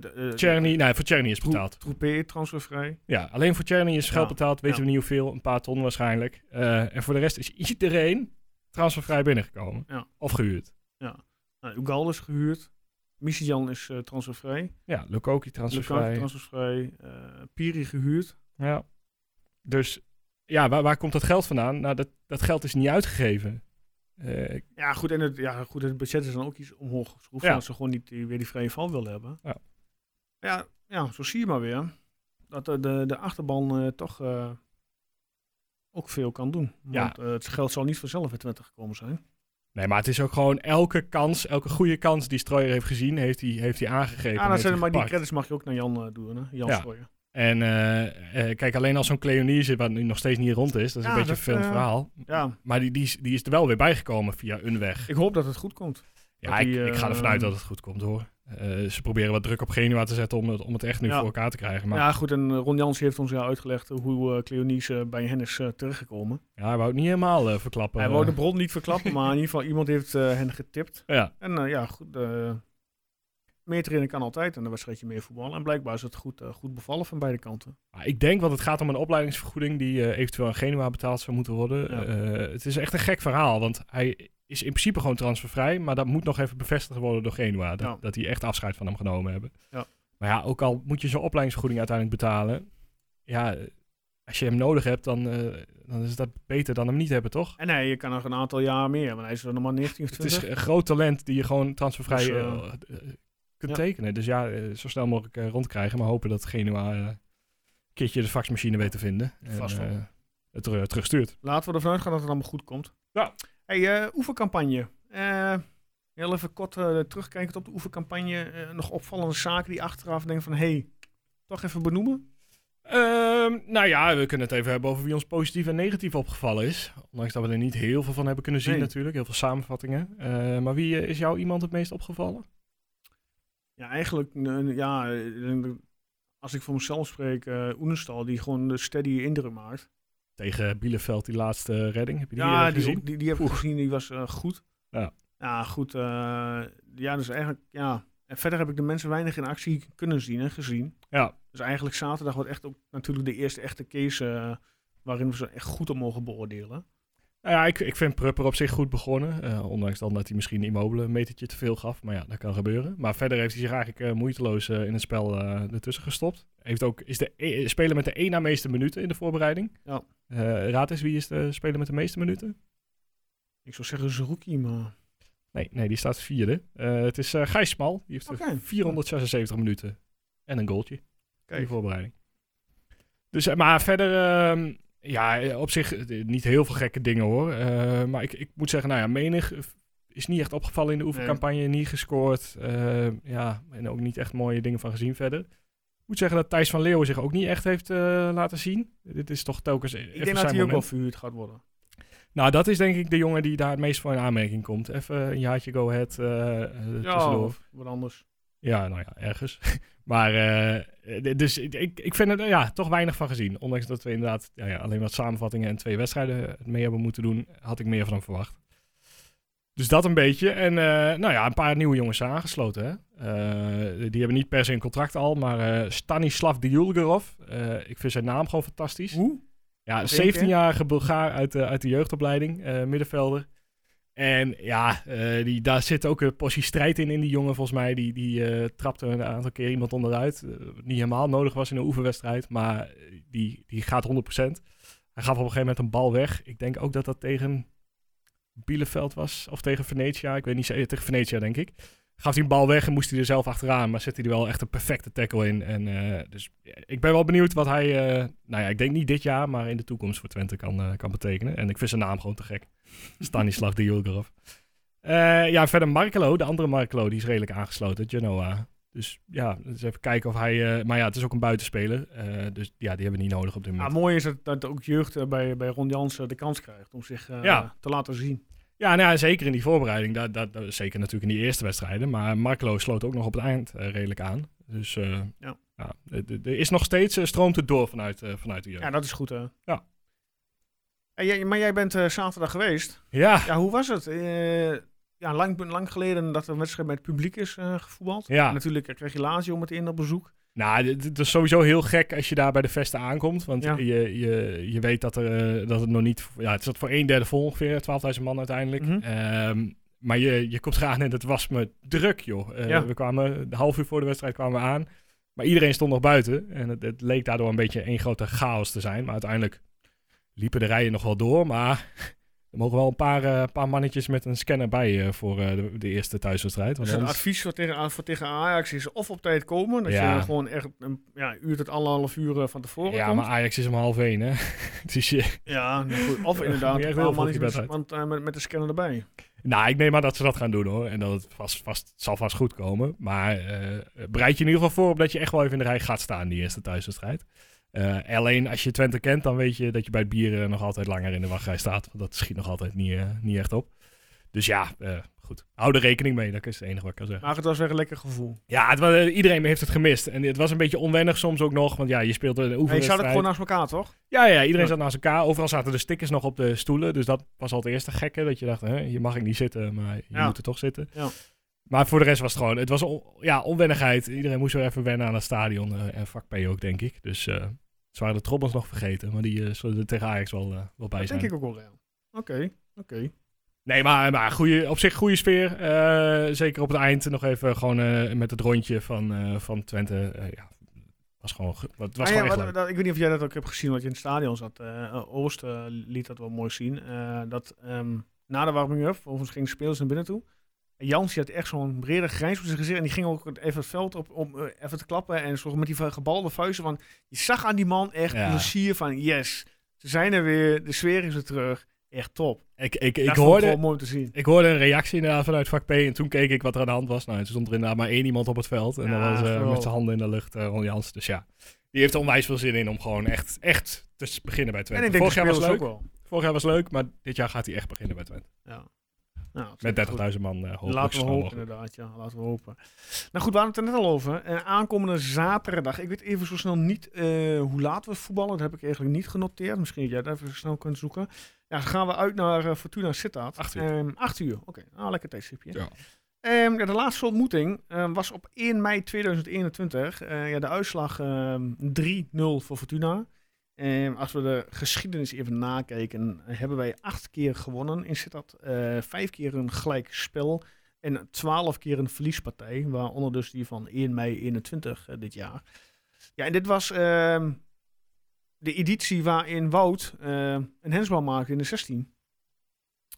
A: de- eh,
B: Czerny, nee, voor Czerny is
A: Troep-
B: betaald.
A: Troepé, transfervrij.
B: Ja, alleen voor Czerny is
A: Ja,
B: geld betaald. Weten
A: ja.
B: we niet hoeveel, een paar ton waarschijnlijk. Eh, en voor de rest is iedereen transfervrij binnengekomen.
A: Ja.
B: Of gehuurd.
A: Nou, Ugal is gehuurd. Misijan is eh, transfervrij.
B: Ja, Lukoki transfervrij.
A: Lukaku transfervrij. Eh, Piri gehuurd.
B: ja. Dus ja, waar, waar komt dat geld vandaan? Nou, dat, dat geld is niet uitgegeven. Eh,
A: Ja goed, en het, ja, goed, het budget is dan ook iets omhoog geschroefd.
B: Ja.
A: Omdat ze gewoon niet die, weer die vrije val willen hebben.
B: Ja.
A: Ja, ja, zo zie je maar weer. Dat eh, de, de achterban eh, toch eh, ook veel kan doen. Want
B: Ja.
A: eh, het geld zal niet vanzelf in Twente gekomen zijn.
B: nee, maar het is ook gewoon elke kans, elke goede kans die Strooier heeft gezien, heeft hij, heeft hij aangegeven.
A: Ja,
B: en
A: Ah, dan
B: heeft
A: zijn,
B: hij
A: maar die
B: gepakt.
A: credits mag je ook naar Jan eh, doen. Hè? Jan
B: Ja.
A: Strooijer.
B: En eh, eh, kijk, alleen als zo'n Cleonise, wat nu nog steeds niet rond is, dat is
A: Ja,
B: een
A: dat,
B: beetje een vervelend
A: eh,
B: verhaal.
A: Ja,
B: Maar die, die, is, die is er wel weer bijgekomen via een weg.
A: ik hoop dat het goed komt.
B: Ja,
A: Dat
B: ik,
A: die,
B: ik ga ervan
A: eh,
B: uit dat het goed komt hoor. Eh, ze proberen wat druk op Genua te zetten om het, om het echt nu
A: Ja.
B: voor elkaar te krijgen. Maar ja.
A: Ja, goed. En eh, Ron Jans heeft ons ja uitgelegd eh, hoe eh Cleonice eh, bij hen is eh, terechtgekomen.
B: hij wou het niet helemaal eh, verklappen.
A: Hij wou de
B: Eh,
A: bron niet verklappen, maar in ieder geval iemand heeft eh, hen getipt.
B: ja.
A: En eh, ja, goed. eh meer trainen kan altijd en een wedstrijdje meer voetballen. En blijkbaar is het goed, eh, goed bevallen van beide kanten.
B: Maar Ah, ik denk, want het gaat om een opleidingsvergoeding die eh, eventueel aan Genua betaald zou moeten worden.
A: Ja.
B: Eh, het is echt een gek verhaal, want hij is in principe gewoon transfervrij. Maar dat moet nog even bevestigd worden door Genua. Dat,
A: Ja.
B: dat die echt afscheid van hem genomen hebben.
A: Ja.
B: Maar ja, ook al moet je zo'n opleidingsvergoeding uiteindelijk betalen. Ja, eh, als je hem nodig hebt, dan, eh, dan is dat beter dan hem niet hebben, toch?
A: En hij kan nog een aantal jaar meer, want hij is er nog maar 19 of
B: Het is
A: 20.
B: een groot talent die je gewoon transfervrij
A: Dus, eh,
B: eh, eh, kunt
A: ja.
B: tekenen. Dus ja, eh, zo snel mogelijk eh, rondkrijgen. Maar hopen dat Genua eh, een keertje de faxmachine weet te vinden.
A: Vast wel.
B: en, eh, het er- terugstuurt.
A: Laten we ervan uitgaan dat het allemaal goed komt.
B: Ja.
A: Hey, eh oefencampagne. Eh, heel even kort eh, terugkijkend op de oefencampagne. Eh, nog opvallende zaken die achteraf denken van... hey, toch even benoemen?
B: Ehm, nou ja, we kunnen het even hebben over wie ons positief en negatief opgevallen is. Ondanks dat we er niet heel veel van hebben kunnen zien
A: Nee.
B: natuurlijk. Heel veel samenvattingen. Eh, maar wie eh, is jou iemand het meest opgevallen?
A: Ja, eigenlijk... eh, ja, eh, als ik voor mezelf spreek... eh Oenestal, die gewoon de steady indruk maakt.
B: Tegen Bielefeld, die laatste redding. Heb je die
A: Ja,
B: eh,
A: die,
B: gezien?
A: ook- die, die heb ik gezien, die was eh, goed.
B: Ja.
A: Ja, goed. eh, ja, dus eigenlijk, ja. En verder heb ik de mensen weinig in actie kunnen zien en gezien.
B: Ja.
A: Dus eigenlijk zaterdag wordt echt ook natuurlijk de eerste echte case eh, waarin we ze echt goed op mogen beoordelen.
B: Nou ja, ik, ik vind Prupper op zich goed begonnen. Eh, ondanks dan dat hij misschien Immobile een metertje te veel gaf. Maar ja, dat kan gebeuren. Maar verder heeft hij zich eigenlijk eh, moeiteloos eh, in het spel eh, ertussen gestopt. Heeft ook, is de e- speler met de één na meeste minuten in de voorbereiding.
A: Ja.
B: Eh, raad eens, wie is de speler met de meeste minuten?
A: Ik zou zeggen Zerouki, maar...
B: Nee, nee die staat vierde. Eh, het is eh Gijs Smal. Die heeft er
A: Oké.
B: 476 minuten en een goaltje in
A: Kijk.
B: de voorbereiding. Dus, eh, maar verder, ehm, ja, eh, op zich eh, niet heel veel gekke dingen hoor. Eh, maar ik, ik moet zeggen, nou ja, menig eh, is niet echt opgevallen in de oefencampagne, niet gescoord. Eh, ja, en ook niet echt mooie dingen van gezien verder. Ik moet zeggen dat Thijs van Leeuwen zich ook niet echt heeft eh, laten zien. Dit is toch telkens.
A: Ik denk dat hij ook wel verhuurd gaat worden.
B: Nou, dat is denk ik de jongen die daar het meest voor in aanmerking komt. Even een jaartje go ahead eh eh, tussendoor.
A: of wat anders.
B: Ja, nou ja, ergens. [LAUGHS] maar eh, d- dus ik- ik, ik vind er ja, toch weinig van gezien. Ondanks dat we inderdaad ja, ja, alleen wat samenvattingen en twee wedstrijden eh, mee hebben moeten doen, had ik meer van hem verwacht. Dus dat een beetje. En eh, nou ja, een paar nieuwe jongens zijn aangesloten. Hè? Eh, die hebben niet per se een contract al, maar eh Stanislav Djulgerov. eh, ik vind zijn naam gewoon fantastisch.
A: Hoe?
B: Ja,
A: Nog één keer?
B: 17-jarige Bulgaar uit de, uit de jeugdopleiding, eh, middenvelder. En ja, eh, die, daar zit ook een portie strijd in, in die jongen volgens mij. Die, die eh, trapte een aantal keer iemand onderuit. eh, wat niet helemaal nodig was in een oefenwedstrijd, maar eh, die, die gaat 100%. Hij gaf op een gegeven moment een bal weg. Ik denk ook dat dat tegen Bielefeld was, of tegen Venetia. Ik weet niet zeker, tegen Venetia denk ik. Gaf hij een bal weg en moest hij er zelf achteraan. Maar zette hij er wel echt een perfecte tackle in. En, eh, dus ja, ik ben wel benieuwd wat hij, eh, nou ja, ik denk niet dit jaar, maar in de toekomst voor Twente kan, eh, kan betekenen. En ik vind zijn naam gewoon te gek. Stanislav de Jurgerov. Eh, ja, verder Markelo, de andere Markelo, die is redelijk aangesloten, Genoa. Dus ja, eens even kijken of hij... eh, maar ja, het is ook een buitenspeler. eh, dus ja, die hebben we niet nodig op dit moment.
A: Ja, Ah, mooi is dat, dat ook jeugd eh, bij, bij Ron Jans eh, de kans krijgt om zich eh,
B: Ja.
A: te laten zien.
B: Ja, nou ja, zeker in die voorbereiding. Dat, dat, dat- zeker natuurlijk in die eerste wedstrijden. Maar Marklo sloot ook nog op het eind eh, redelijk aan. Dus eh,
A: Ja.
B: ja. er- er- er is nog steeds, eh, stroomt het door vanuit, eh, vanuit de jeugd.
A: Ja, dat is goed hè.
B: Ja.
A: En jij- maar jij bent eh, zaterdag geweest.
B: Ja,
A: Ja, hoe was het? Eh, ja, lang, lang geleden dat er een wedstrijd met het publiek is eh, gevoetbald.
B: Ja.
A: En natuurlijk eh, kreeg je Lazio meteen op bezoek.
B: Nou, dit- dit is sowieso heel gek als je daar bij de vesten aankomt. Want
A: Ja.
B: je, je, je weet dat, er, eh, dat het nog niet... Ja, het zat voor een derde vol ongeveer, 12.000 man uiteindelijk.
A: Mhm.
B: Ehm, maar je, je komt eraan en het was me druk, joh. Eh,
A: Ja.
B: We kwamen een half uur voor de wedstrijd kwamen we aan. Maar iedereen stond nog buiten. En het, het leek daardoor een beetje één grote chaos te zijn. Maar uiteindelijk liepen de rijen nog wel door. Maar [LAUGHS] er mogen wel een paar, eh, paar mannetjes met een scanner bij eh, voor eh, de, de eerste thuiswedstrijd. Want
A: Dus het
B: anders-
A: advies voor tegen, voor tegen Ajax is of op tijd komen. Dat
B: Ja.
A: je gewoon echt een ja, uur tot anderhalf uur eh, van tevoren
B: ja,
A: komt.
B: maar Ajax is om half één, hè. [LAUGHS] dus je,
A: Ja, nou goed. of
B: [LAUGHS] Ja,
A: inderdaad,
B: moet je echt
A: een
B: heel
A: paar
B: vroeg je bed
A: mannetjes
B: uit.
A: want, eh, met, met de scanner erbij.
B: Nou, ik neem aan dat ze dat gaan doen hoor. En dat het vast, vast, zal vast goed komen. Maar eh, bereid je in ieder geval voor op dat je echt wel even in de rij gaat staan, die eerste thuiswedstrijd. Eh, alleen als je Twente kent, dan weet je dat je bij het bieren nog altijd langer in de wachtrij staat. Want dat schiet nog altijd niet, eh, niet echt op. Dus ja, eh, goed. Hou er rekening mee. Dat is het enige wat ik kan zeggen.
A: Maar het was weer een lekker gevoel.
B: Ja, het, wa- eh, iedereen heeft het gemist. En het was een beetje onwennig soms ook nog. Want ja, je speelt een
A: En je zou
B: oefenwedstrijd.
A: het gewoon naast elkaar, toch?
B: Ja, ja, iedereen
A: Ja.
B: zat naast elkaar. Overal zaten de stickers nog op de stoelen. Dus dat was al het eerste gekke. Dat je dacht, hè, hier mag ik niet zitten, maar je
A: Ja.
B: moet er toch zitten.
A: Ja.
B: Maar voor de rest was het gewoon... Het was on- ja, onwennigheid. Iedereen moest wel even wennen aan het stadion. eh, en vak P ook, denk ik. Dus eh ze waren de trommels nog vergeten. Maar die eh, zullen er tegen Ajax wel, eh, wel bij
A: Dat
B: zijn.
A: denk ik ook wel. ja. Oké, oké.
B: Nee, maar, maar goeie, op zich goede sfeer. Eh, zeker op het eind nog even gewoon eh, met het rondje van, eh, van Twente. Eh, ja, was gewoon, ge-
A: Ah
B: het was
A: ja,
B: gewoon echt
A: wat-
B: leuk.
A: dat- ik weet niet of jij dat ook hebt gezien, wat je in het stadion zat. Eh, Oost eh, liet dat wel mooi zien. Eh, dat ehm, na de warming-up, volgens gingen de spelers naar binnen toe. En Jans die had echt zo'n brede grijns op zijn gezicht. En die ging ook even het veld op om eh, even te klappen. En zo met die gebalde vuisten. Want je zag aan die man echt
B: Ja.
A: een plezier van yes, ze zijn er weer. De sfeer is er terug. Echt top.
B: Ik, ik, ik
A: dat vond ik
B: hoorde...
A: wel mooi om te zien.
B: Ik hoorde een reactie inderdaad vanuit vak P en toen keek ik wat er aan de hand was. Nou, toen stond er inderdaad maar één iemand op het veld
A: Ja,
B: en dat was eh,
A: geweldig.
B: met zijn handen in de lucht, eh, Ron Jans. Dus ja, die heeft er onwijs veel zin in om gewoon echt, echt te s- beginnen bij
A: En
B: Twente.
A: ik denk de
B: Vorig jaar, was
A: spelers ook
B: leuk.
A: wel.
B: Vorig jaar was leuk, maar dit jaar gaat hij echt beginnen bij Twente.
A: Ja. Nou, het is goed.
B: Met 30.000 man eh hopelijk.
A: Laten
B: zo
A: we
B: snel
A: hopen,
B: mogelijk.
A: inderdaad. Ja, laten we hopen. Nou goed, we hadden het er net al over. Eh, aankomende zaterdag. Ik weet even zo snel niet eh, hoe laat we voetballen. Dat heb ik eigenlijk niet genoteerd. Misschien dat jij dat even snel kunt zoeken. Ja, dan gaan we uit naar eh, Fortuna Sittard.
B: Acht uur.
A: Ehm, acht uur, oké. Nou, lekker tijdstipje.
B: Ja.
A: Ehm, ja, de laatste ontmoeting eh, was op 1 mei 2021. Eh, ja, de uitslag ehm 3-0 voor Fortuna. Ehm, als we de geschiedenis even nakijken, eh, hebben wij acht keer gewonnen in Sittard. Eh, vijf keer een gelijk spel en twaalf keer een verliespartij. Waaronder dus die van 1 mei 21 eh, dit jaar. Ja, en dit was ehm, de editie waarin Wout eh, een hensbal maakte in de 16.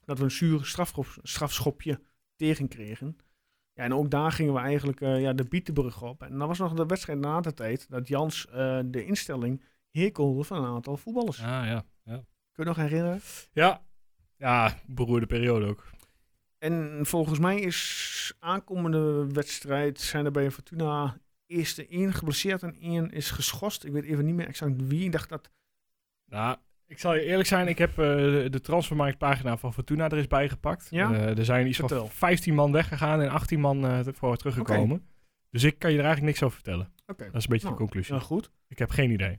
A: Dat we een zuur strafschop- strafschopje tegenkregen. Ja, en ook daar gingen we eigenlijk eh, ja, de Bietenbrug op. En dan was nog de wedstrijd na de tijd dat Jans eh, de instelling herkelde van een aantal voetballers.
B: Ah, ja. Ja.
A: Kun je nog herinneren?
B: ja. Ja, beroerde periode ook.
A: En volgens mij is aankomende wedstrijd zijn er bij Fortuna eerst de één geblesseerd en één is geschorst. Ik weet even niet meer exact wie. Ik dacht dat
B: Nou, ik zal je eerlijk zijn, ik heb eh, de transfermarktpagina van Fortuna er is bijgepakt.
A: Ja?
B: Eh, er zijn iets
A: Vertel.
B: van 15 man weggegaan en 18 man eh, voor teruggekomen. Dus ik kan je er eigenlijk niks over vertellen.
A: Oké.
B: Dat is een beetje
A: Nou,
B: de conclusie.
A: ja, goed.
B: Ik heb geen idee.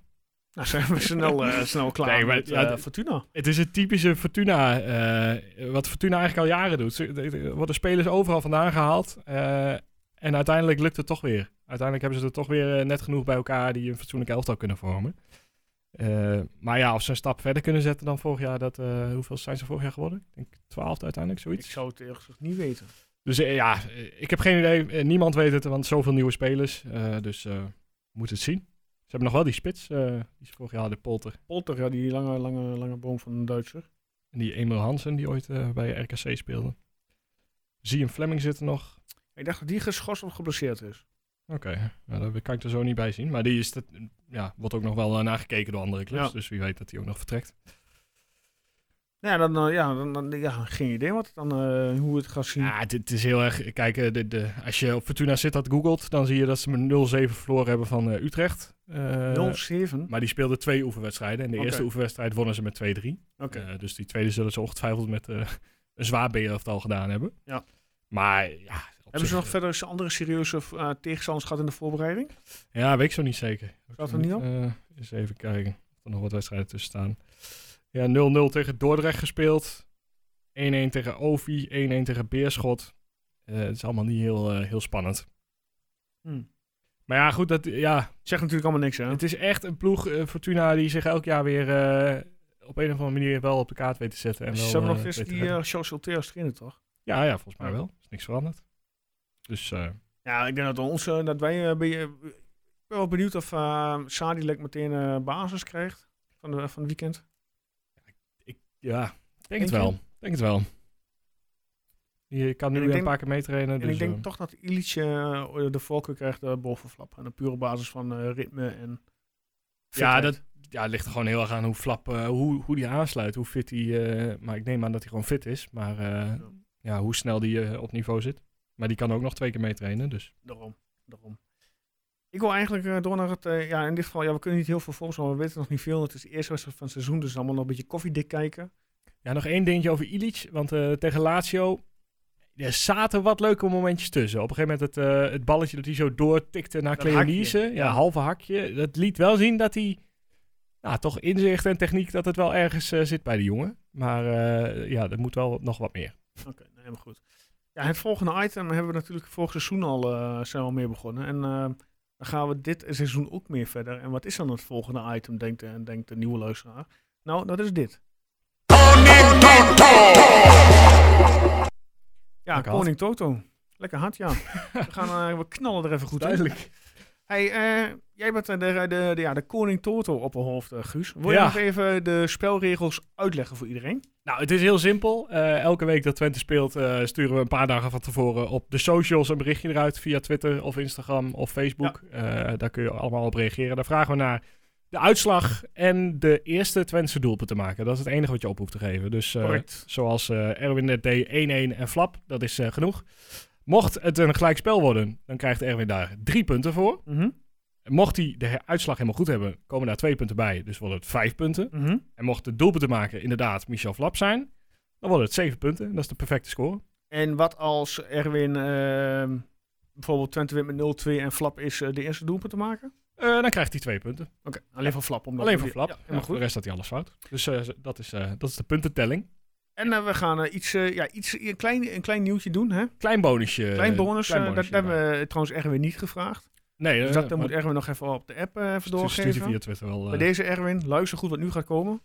A: Nou zijn we snel, [LAUGHS] eh, snel klaar
B: Nee, maar
A: met
B: ja,
A: eh,
B: d-
A: Fortuna.
B: Het is het typische Fortuna, eh, wat Fortuna eigenlijk al jaren doet. Ze- de- de- Er worden spelers overal vandaan gehaald eh, en uiteindelijk lukt het toch weer. Uiteindelijk hebben ze er toch weer eh, net genoeg bij elkaar die een fatsoenlijk elftal kunnen vormen. Eh, maar ja, of ze een stap verder kunnen zetten dan vorig jaar, dat, eh, hoeveel zijn ze vorig jaar geworden? Ik denk 12 uiteindelijk,
A: Ik
B: zoiets.
A: zou het eerlijk gezegd niet weten.
B: Dus eh, ja, eh, ik heb geen idee. Eh, Niemand weet het, want zoveel nieuwe spelers. eh, dus eh we moeten het zien. Ze hebben nog wel die spits, eh, die ze vorig jaar hadden, Polter.
A: Polter, ja, die lange, lange, lange boom van een Duitser.
B: En die Emil Hansen, die ooit eh, bij RKC speelde. Zie hem Fleming zitten nog.
A: Ik dacht dat die geschorst of geblesseerd is.
B: Oké, nou, daar kan ik er zo niet bij zien. Maar die is dat, ja, wordt ook nog wel eh, nagekeken door andere clubs.
A: Ja.
B: Dus wie weet dat hij ook nog vertrekt.
A: Nou ja, dan, eh, ja, dan, dan- ja, geen idee wat het dan, eh, hoe het gaat zien.
B: Ja, het, het is heel erg... Kijk, eh, de, de, als je op Fortuna zit dat googelt, dan zie je dat ze met 0-7 verloren hebben van eh, Utrecht. Eh
A: 0-7.
B: maar die speelden twee oefenwedstrijden. En de
A: Oké.
B: eerste oefenwedstrijd wonnen ze met 2-3.
A: Oké.
B: Eh, dus die tweede zullen ze ongetwijfeld met eh, een zwaar B-elftal gedaan hebben.
A: Ja.
B: Maar ja... op
A: Hebben ze
B: zich,
A: nog verder andere serieuze eh, tegenstanders gehad in de voorbereiding?
B: eh, Ja, weet ik zo niet zeker.
A: Staat er niet op?
B: Eh, eens even kijken of er nog wat wedstrijden tussen staan. Ja, 0-0 tegen Dordrecht gespeeld. 1-1 tegen Ovi, 1-1 tegen Beerschot. Eh, het is allemaal niet heel, eh, heel spannend.
A: Hmm.
B: Maar ja, goed, dat, ja,
A: Zegt natuurlijk allemaal niks, hè?
B: het is echt een ploeg, eh, Fortuna, die zich elk jaar weer eh, op een of andere manier wel op de kaart weet te zetten. En
A: Ze
B: wel,
A: hebben nog
B: eh,
A: steeds
B: weet te
A: die
B: redden.
A: eh, Oh. Charles Solteers erin, toch?
B: ja, ja, volgens mij wel. Er is niks veranderd. Dus eh,
A: Ja, ik denk dat, ons, eh, dat wij... eh, bij, eh, ik ben wel benieuwd of eh Sadilek meteen eh, basis krijgt van, de, van het weekend.
B: ja, ik denk
A: Denk
B: het
A: je?
B: wel. Ik Denk het wel. Je kan nu
A: En ik
B: weer
A: denk-
B: een paar keer meetrainen.
A: en
B: dus,
A: ik denk
B: eh,
A: toch dat Illich eh, de voorkeur krijgt eh, boven Flap. Aan de pure basis van eh, ritme en
B: Ja,
A: fitheid.
B: dat ja, het ligt er gewoon heel erg aan hoe flap, eh, hoe, hoe die aansluit, hoe fit hij. maar ik neem aan dat hij gewoon fit is. Maar eh, ja. hoe snel die eh, op niveau zit. Maar die kan ook nog twee keer meetrainen. Dus
A: Daarom, daarom. Ik wil eigenlijk eh, door naar het, eh, ja in dit geval, ja we kunnen niet heel veel volgen, maar we weten nog niet veel. Het is de eerste wedstrijd van het seizoen, dus allemaal nog een beetje koffiedik kijken.
B: ja, nog één dingetje over Ilic. Want eh, tegen Lazio. Er zaten wat leuke momentjes tussen. Op een gegeven moment het, eh, het balletje dat hij zo doortikte naar
A: Dat
B: Cleonise.
A: hakje,
B: Ja,
A: ja.
B: halve hakje. Dat liet wel zien dat hij. Nou, toch inzicht en techniek dat het wel ergens eh, zit bij de jongen. Maar eh, ja, er moet wel nog wat meer.
A: Oké, nou, helemaal goed. Ja, het volgende item hebben we natuurlijk vorig seizoen al, eh, zijn we al mee begonnen. En eh, dan gaan we dit seizoen ook meer verder. En wat is dan het volgende item, denkt de, denkt de nieuwe luisteraar. Nou, dat is dit. Ja,
B: Lekker
A: Koning Toto. Lekker hard, ja. We, gaan, eh, we knallen er even goed in. Hey, eh, jij bent eh, de, de, de- ja, de koning Toto op een hoofd, eh, Guus. Wil je
B: Ja.
A: nog even de spelregels uitleggen voor iedereen?
B: Nou, het is heel simpel. Eh, elke week dat Twente speelt, eh, sturen we een paar dagen van tevoren op de socials een berichtje eruit via Twitter of Instagram of Facebook. Eh, daar kun je allemaal op reageren. Daar vragen we naar de uitslag en de eerste Twentse doelpunten maken. Dat is het enige wat je op hoeft te geven. Dus eh,
A: Correct.
B: zoals eh Erwin net deed, 1-1 en flap, dat is eh, genoeg. Mocht het een gelijkspel worden, dan krijgt Erwin daar drie punten voor.
A: Mhm.
B: Mocht hij de he- uitslag helemaal goed hebben, komen daar twee punten bij. Dus worden het vijf punten.
A: Mhm.
B: En mocht de doelpuntenmaker inderdaad Michel Flap zijn, dan worden het 7 punten. Dat is de perfecte score.
A: En wat als Erwin ehm, bijvoorbeeld Twente wint met 0-2 en Flap is eh, de eerste doelpunt te maken?
B: Eh, dan krijgt hij 2 punten.
A: Oké, alleen van Flap. Omdat
B: Alleen voor
A: we-
B: Flap.
A: Ja,
B: Ja,
A: helemaal
B: Voor de
A: goed.
B: rest had hij alles fout. Dus eh, dat, is, eh, dat is de puntentelling.
A: En eh, we gaan eh, iets, eh, ja, iets, een, klein, een klein nieuwtje doen, hè?
B: Klein bonusje.
A: Klein bonus. eh,
B: Eh, klein
A: dat
B: bonusje
A: hebben we trouwens Erwin niet gevraagd.
B: erbij. Nee,
A: Dus
B: eh,
A: dat eh,
B: maar
A: moet Erwin nog even op de app eh, even
B: stu- stuurt hij
A: doorgeven.
B: via Twitter wel. eh.
A: Bij deze Erwin, luister goed wat nu gaat komen.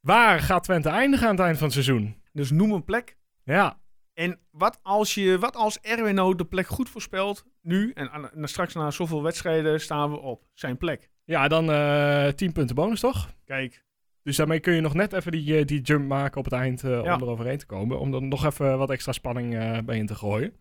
B: Waar gaat Twente eindigen aan het eind van het seizoen?
A: Dus noem een plek.
B: Ja,
A: En wat als, je, wat als Erwin nou de plek goed voorspelt, nu en, aan- en straks na zoveel wedstrijden staan we op zijn plek.
B: ja dan eh 10 punten bonus toch?
A: Kijk,
B: Dus daarmee kun je nog net even die, eh, die jump maken op het eind eh,
A: Ja.
B: om er overheen te komen. Om er nog even wat extra spanning eh, bij in te gooien.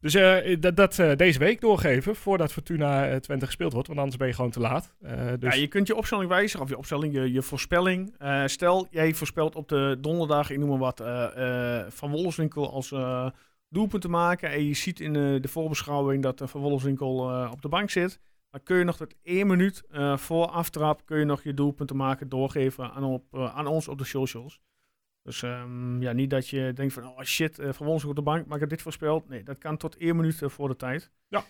B: Dus eh, dat, dat eh, deze week doorgeven voordat Fortuna eh, Twente gespeeld wordt. Want anders ben je gewoon te laat. Eh, dus
A: ja, je kunt je opstelling wijzigen, of je opstelling, je, je voorspelling. Eh, stel, jij voorspelt op de donderdag, ik noem maar wat, eh, eh, Van Wolfswinkel als eh, doelpunt te maken. En je ziet in eh, de voorbeschouwing dat eh, Van Wolfswinkel eh, op de bank zit. Dan kun je nog tot één minuut eh, voor aftrap, kun je nog je doelpunt te maken doorgeven aan, op, eh, aan ons op de socials. Dus ehm, ja, niet dat je denkt van, oh shit, eh, Van ons op de bank, maar ik heb dit voorspeld. Nee, dat kan tot één minuut eh, voor de tijd.
B: Ja.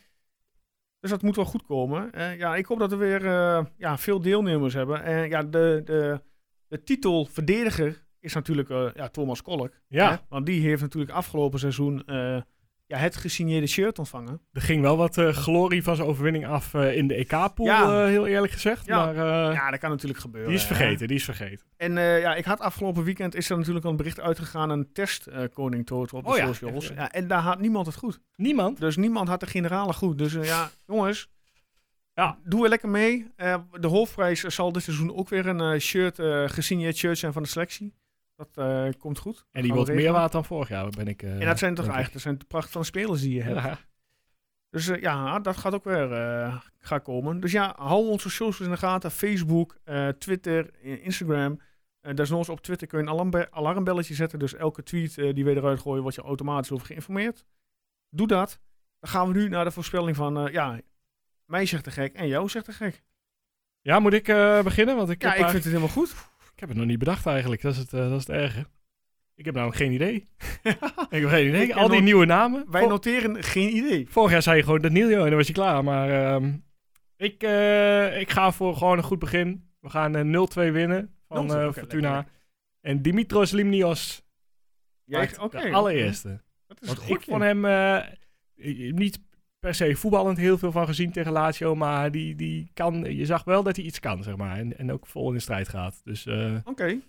A: Dus dat moet wel goed komen. Eh, ja, ik hoop dat we weer eh, ja, veel deelnemers hebben. En ja, de, de, de titel verdediger is natuurlijk eh, ja, Thomas Kolk.
B: ja,
A: Hè? Want die heeft natuurlijk afgelopen seizoen eh, ja, het gesigneerde shirt ontvangen.
B: er ging wel wat eh, glorie van zijn overwinning af eh, in de EK-pool, eh,
A: Ja.
B: heel eerlijk gezegd.
A: Ja.
B: Maar eh,
A: ja, dat kan natuurlijk gebeuren.
B: die is
A: hè?
B: vergeten, die is vergeten.
A: En eh, ja, ik had afgelopen weekend is er natuurlijk al een bericht uitgegaan, een test eh, Koning Toto op de
B: Oh ja,
A: socials.
B: even-
A: Ja, en daar had niemand het goed.
B: Niemand?
A: Dus niemand had de generalen goed. Dus eh,
B: [LAUGHS]
A: ja, jongens.
B: Ja.
A: Doe er lekker mee. Eh, de hoofdprijs zal dit seizoen ook weer een eh, shirt, eh gesigneerd shirt zijn van de selectie. Dat eh, komt goed.
B: En die
A: Gaan we
B: wordt
A: regelen.
B: meer waard dan vorig jaar, ben ik... eh,
A: En dat zijn toch
B: denk ik.
A: eigenlijk dat zijn de pracht van de spelers die je hebt.
B: Ja.
A: Dus eh, ja, dat gaat ook weer eh, gaan komen. Dus ja, hou onze socials in de gaten. Facebook, eh, Twitter, eh, Instagram. Eh desnoods op Twitter kun je een alarmbe- alarmbelletje zetten. Dus elke tweet eh, die we eruit gooien, word je automatisch over geïnformeerd. Doe dat. Dan gaan we nu naar de voorspelling van, eh, ja, mij zegt de gek en jou zegt de gek.
B: Ja, moet ik eh, beginnen? Want ik,
A: Ja,
B: heb
A: ik
B: eigenlijk-
A: vind het helemaal goed.
B: Ik heb het nog niet bedacht eigenlijk. Dat is het, eh, dat is het erge. Ik heb namelijk geen idee. ik heb geen idee.
A: Ik
B: Al die
A: nog-
B: nieuwe namen.
A: [LAUGHS] Wij
B: Vo-
A: noteren geen idee.
B: Vorig jaar zei je gewoon Danilo en dan was je klaar. Maar ehm, ik, eh, ik ga voor gewoon een goed begin. We gaan eh, 0-2 winnen van
A: 0-2,
B: eh,
A: oké,
B: Fortuna.
A: lekker,
B: En Dimitros Limnios
A: Jij,
B: Maakt
A: oké.
B: De allereerste.
A: Dat is
B: Want
A: goed
B: ik
A: van
B: vond hem eh, niet per se voetballend heel veel van gezien tegen Lazio, maar die, die kan, je zag wel dat hij iets kan, zeg maar. En, en ook vol in de strijd gaat. Dus eh,
A: Oké.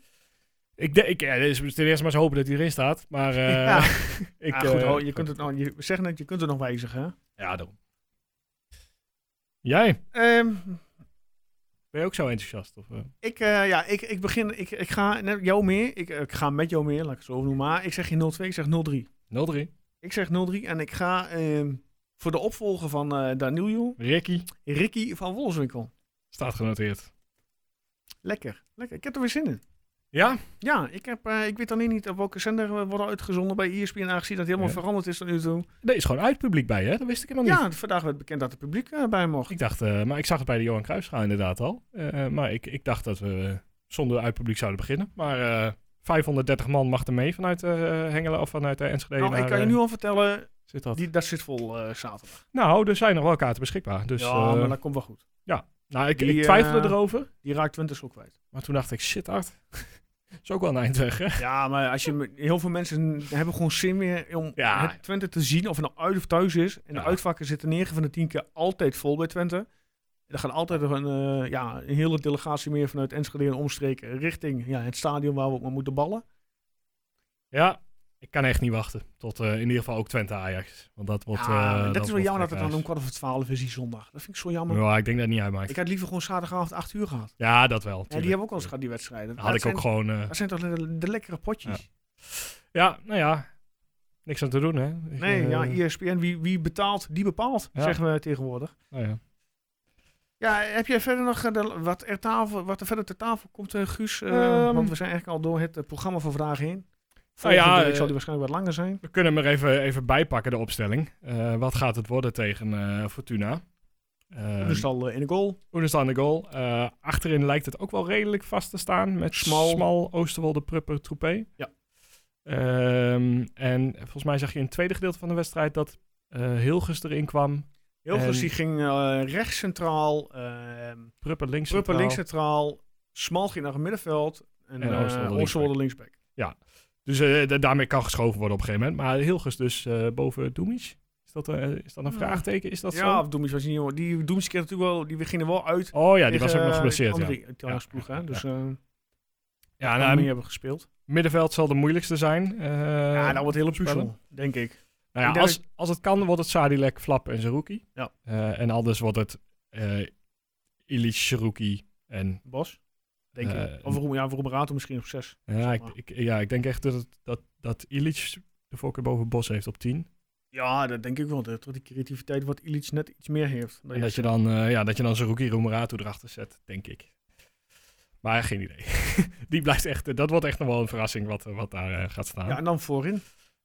B: ik denk, ik, ja, dus ten eerste maar eens hopen dat hij erin staat. Maar eh,
A: Ja.
B: [LAUGHS] ik,
A: Ja, Ah, goed,
B: eh,
A: hoor, je kunt het nog, je, zeg net, je kunt het nog wijzigen. hè?
B: Ja, daarom. Jij?
A: Ehm,
B: Ben je ook zo enthousiast? Of, eh?
A: ik, eh, ja, ik, ik begin, ik, ik ga net jou meer, ik, eh, ik ga met jou meer, laat ik het zo noemen, maar ik zeg geen 0-2, ik zeg 0-3.
B: 0-3.
A: Ik zeg 0-3 en ik ga ehm, voor de opvolger van eh Danilo,
B: Ricky
A: Ricky van Wolfswinkel.
B: staat genoteerd.
A: Lekker, lekker. Ik heb er weer zin in.
B: Ja?
A: Ja, ik, heb, eh, ik weet alleen niet op welke zender we worden uitgezonden bij E ESPN, aangezien dat het helemaal
B: Ja.
A: veranderd is tot nu toe.
B: Er is gewoon uit publiek bij, hè? Dat wist ik helemaal niet.
A: Ja, vandaag werd bekend dat het publiek eh, bij mocht.
B: Ik dacht, eh, maar ik zag het bij de Johan Cruijffschaal inderdaad al. Eh, eh, maar ik, ik dacht dat we eh, zonder uitpubliek zouden beginnen. Maar eh, 530 man mag er mee vanuit eh, Hengelo of vanuit eh, Enschede.
A: nou, ik
B: naar,
A: kan je
B: eh,
A: nu al vertellen,
B: Zit dat?
A: die, dat zit vol eh, zaterdag.
B: Nou, er zijn nog wel kaarten beschikbaar. Dus,
A: ja,
B: eh,
A: maar dat komt wel goed.
B: nou, ik,
A: die,
B: ik twijfelde
A: eh,
B: erover.
A: Die raakt Twente ook kwijt.
B: Maar toen dacht ik, shit, Art. [LAUGHS] is ook wel een eind weg, hè?
A: Ja, maar als je, me- heel veel mensen hebben gewoon zin meer om
B: Ja.
A: het Twente te zien, of het nou uit of thuis is. En de
B: Ja.
A: uitvakken zitten 9 van de 10 keer altijd vol bij Twente. En er gaan altijd nog een, eh, ja, een hele delegatie meer vanuit Enschede en omstreken richting ja, het stadion waar we op maar moeten ballen.
B: Ja, ik kan echt niet wachten. Tot eh, in ieder geval ook Twente Ajax. Want dat wordt.
A: Ja,
B: eh,
A: Ah, dat, is wel
B: wordt
A: jammer dat het dan om
B: gekhuis.
A: kwart over twaalf is die zondag. Dat vind ik zo jammer.
B: Ja, ik denk dat het niet uitmaakt.
A: Ik had liever gewoon zaterdagavond 8 uur gehad.
B: Ja, dat wel.
A: En
B: tuurlijk.
A: die hebben ook al eens gehad, die wedstrijden.
B: Had ik
A: zijn,
B: ook gewoon. eh,
A: Dat zijn toch de, de lekkere potjes?
B: ja, nou ja. Niks aan te doen, hè? Ik,
A: Nee,
B: eh,
A: ja, E ESPN, wie, wie betaalt, die bepaalt,
B: Ja.
A: zeggen we tegenwoordig.
B: nou ja.
A: Ja, heb jij verder nog eh, de- wat, er tafel, wat er verder ter tafel komt, eh, Guus? Eh,
B: Ehm.
A: want we zijn eigenlijk al door het eh, programma van vandaag heen.
B: Nou
A: Volgende
B: ja,
A: week
B: eh,
A: zal die waarschijnlijk wat langer zijn.
B: We kunnen hem er even, even bijpakken, de opstelling. Eh, wat gaat het worden tegen eh, Fortuna? Uh,
A: dus al eh, in de goal.
B: Oenestaan de goal. Eh, achterin lijkt het ook wel redelijk vast te staan met
A: Smal.
B: Smal, Oosterwolde, Prupper, Troepé.
A: Ja.
B: Ehm, en volgens mij zag je in het tweede gedeelte van de wedstrijd dat eh Hilgers erin kwam.
A: Hilgers
B: en-
A: die ging eh, rechts centraal, ehm
B: Prupper links.
A: Prupper
B: centraal.
A: links centraal, Smal ging naar het middenveld en,
B: En
A: en
B: Oosterwolde linksback.
A: Oosterwolde linksback.
B: Dus eh, da- daarmee kan geschoven worden op een gegeven moment. Maar Hilgers dus eh, boven Doemitsch. Is dat, eh, is dat een
A: Ja.
B: vraagteken? Is dat
A: Ja,
B: zo?
A: of Doemies was niet jongen. Die Doemies kreeg natuurlijk wel, die gingen wel uit.
B: Oh ja, die
A: tegen,
B: was ook nog
A: eh,
B: geblesseerd. Ja,
A: andere Italiaanse ploeg, hè.
B: Ja.
A: Dus eh
B: ja
A: kan
B: nou,
A: meer hebben gespeeld.
B: middenveld zal de moeilijkste zijn. eh,
A: ja, nou, dat wordt een hele
B: spellen.
A: puzzel, denk ik.
B: Nou
A: Ik
B: ja,
A: denk
B: als, als het kan, wordt het Sadilek, Flap en Zerouki.
A: Ja.
B: Eh, en anders wordt het eh Illich, Zerouki en...
A: Bas, denk
B: Eh,
A: ik. Of Roem, ja, Roem Rato misschien op zes.
B: Ja, ik,
A: maar.
B: ik- ja, ik denk echt dat, het- dat, dat Illich de voorkeur boven Bos heeft op 10.
A: Ja, dat denk ik wel. Dat dat die creativiteit wat Illich net iets meer heeft. Nou
B: En dat je dan, eh ja, dat je dan Zerouki, Roemerato erachter zet, denk ik. Maar geen idee. [LAUGHS] Die blijft echt, eh, dat wordt echt nog wel een verrassing wat, eh, wat daar eh, gaat staan.
A: Ja,
B: Ja,
A: en dan voorin.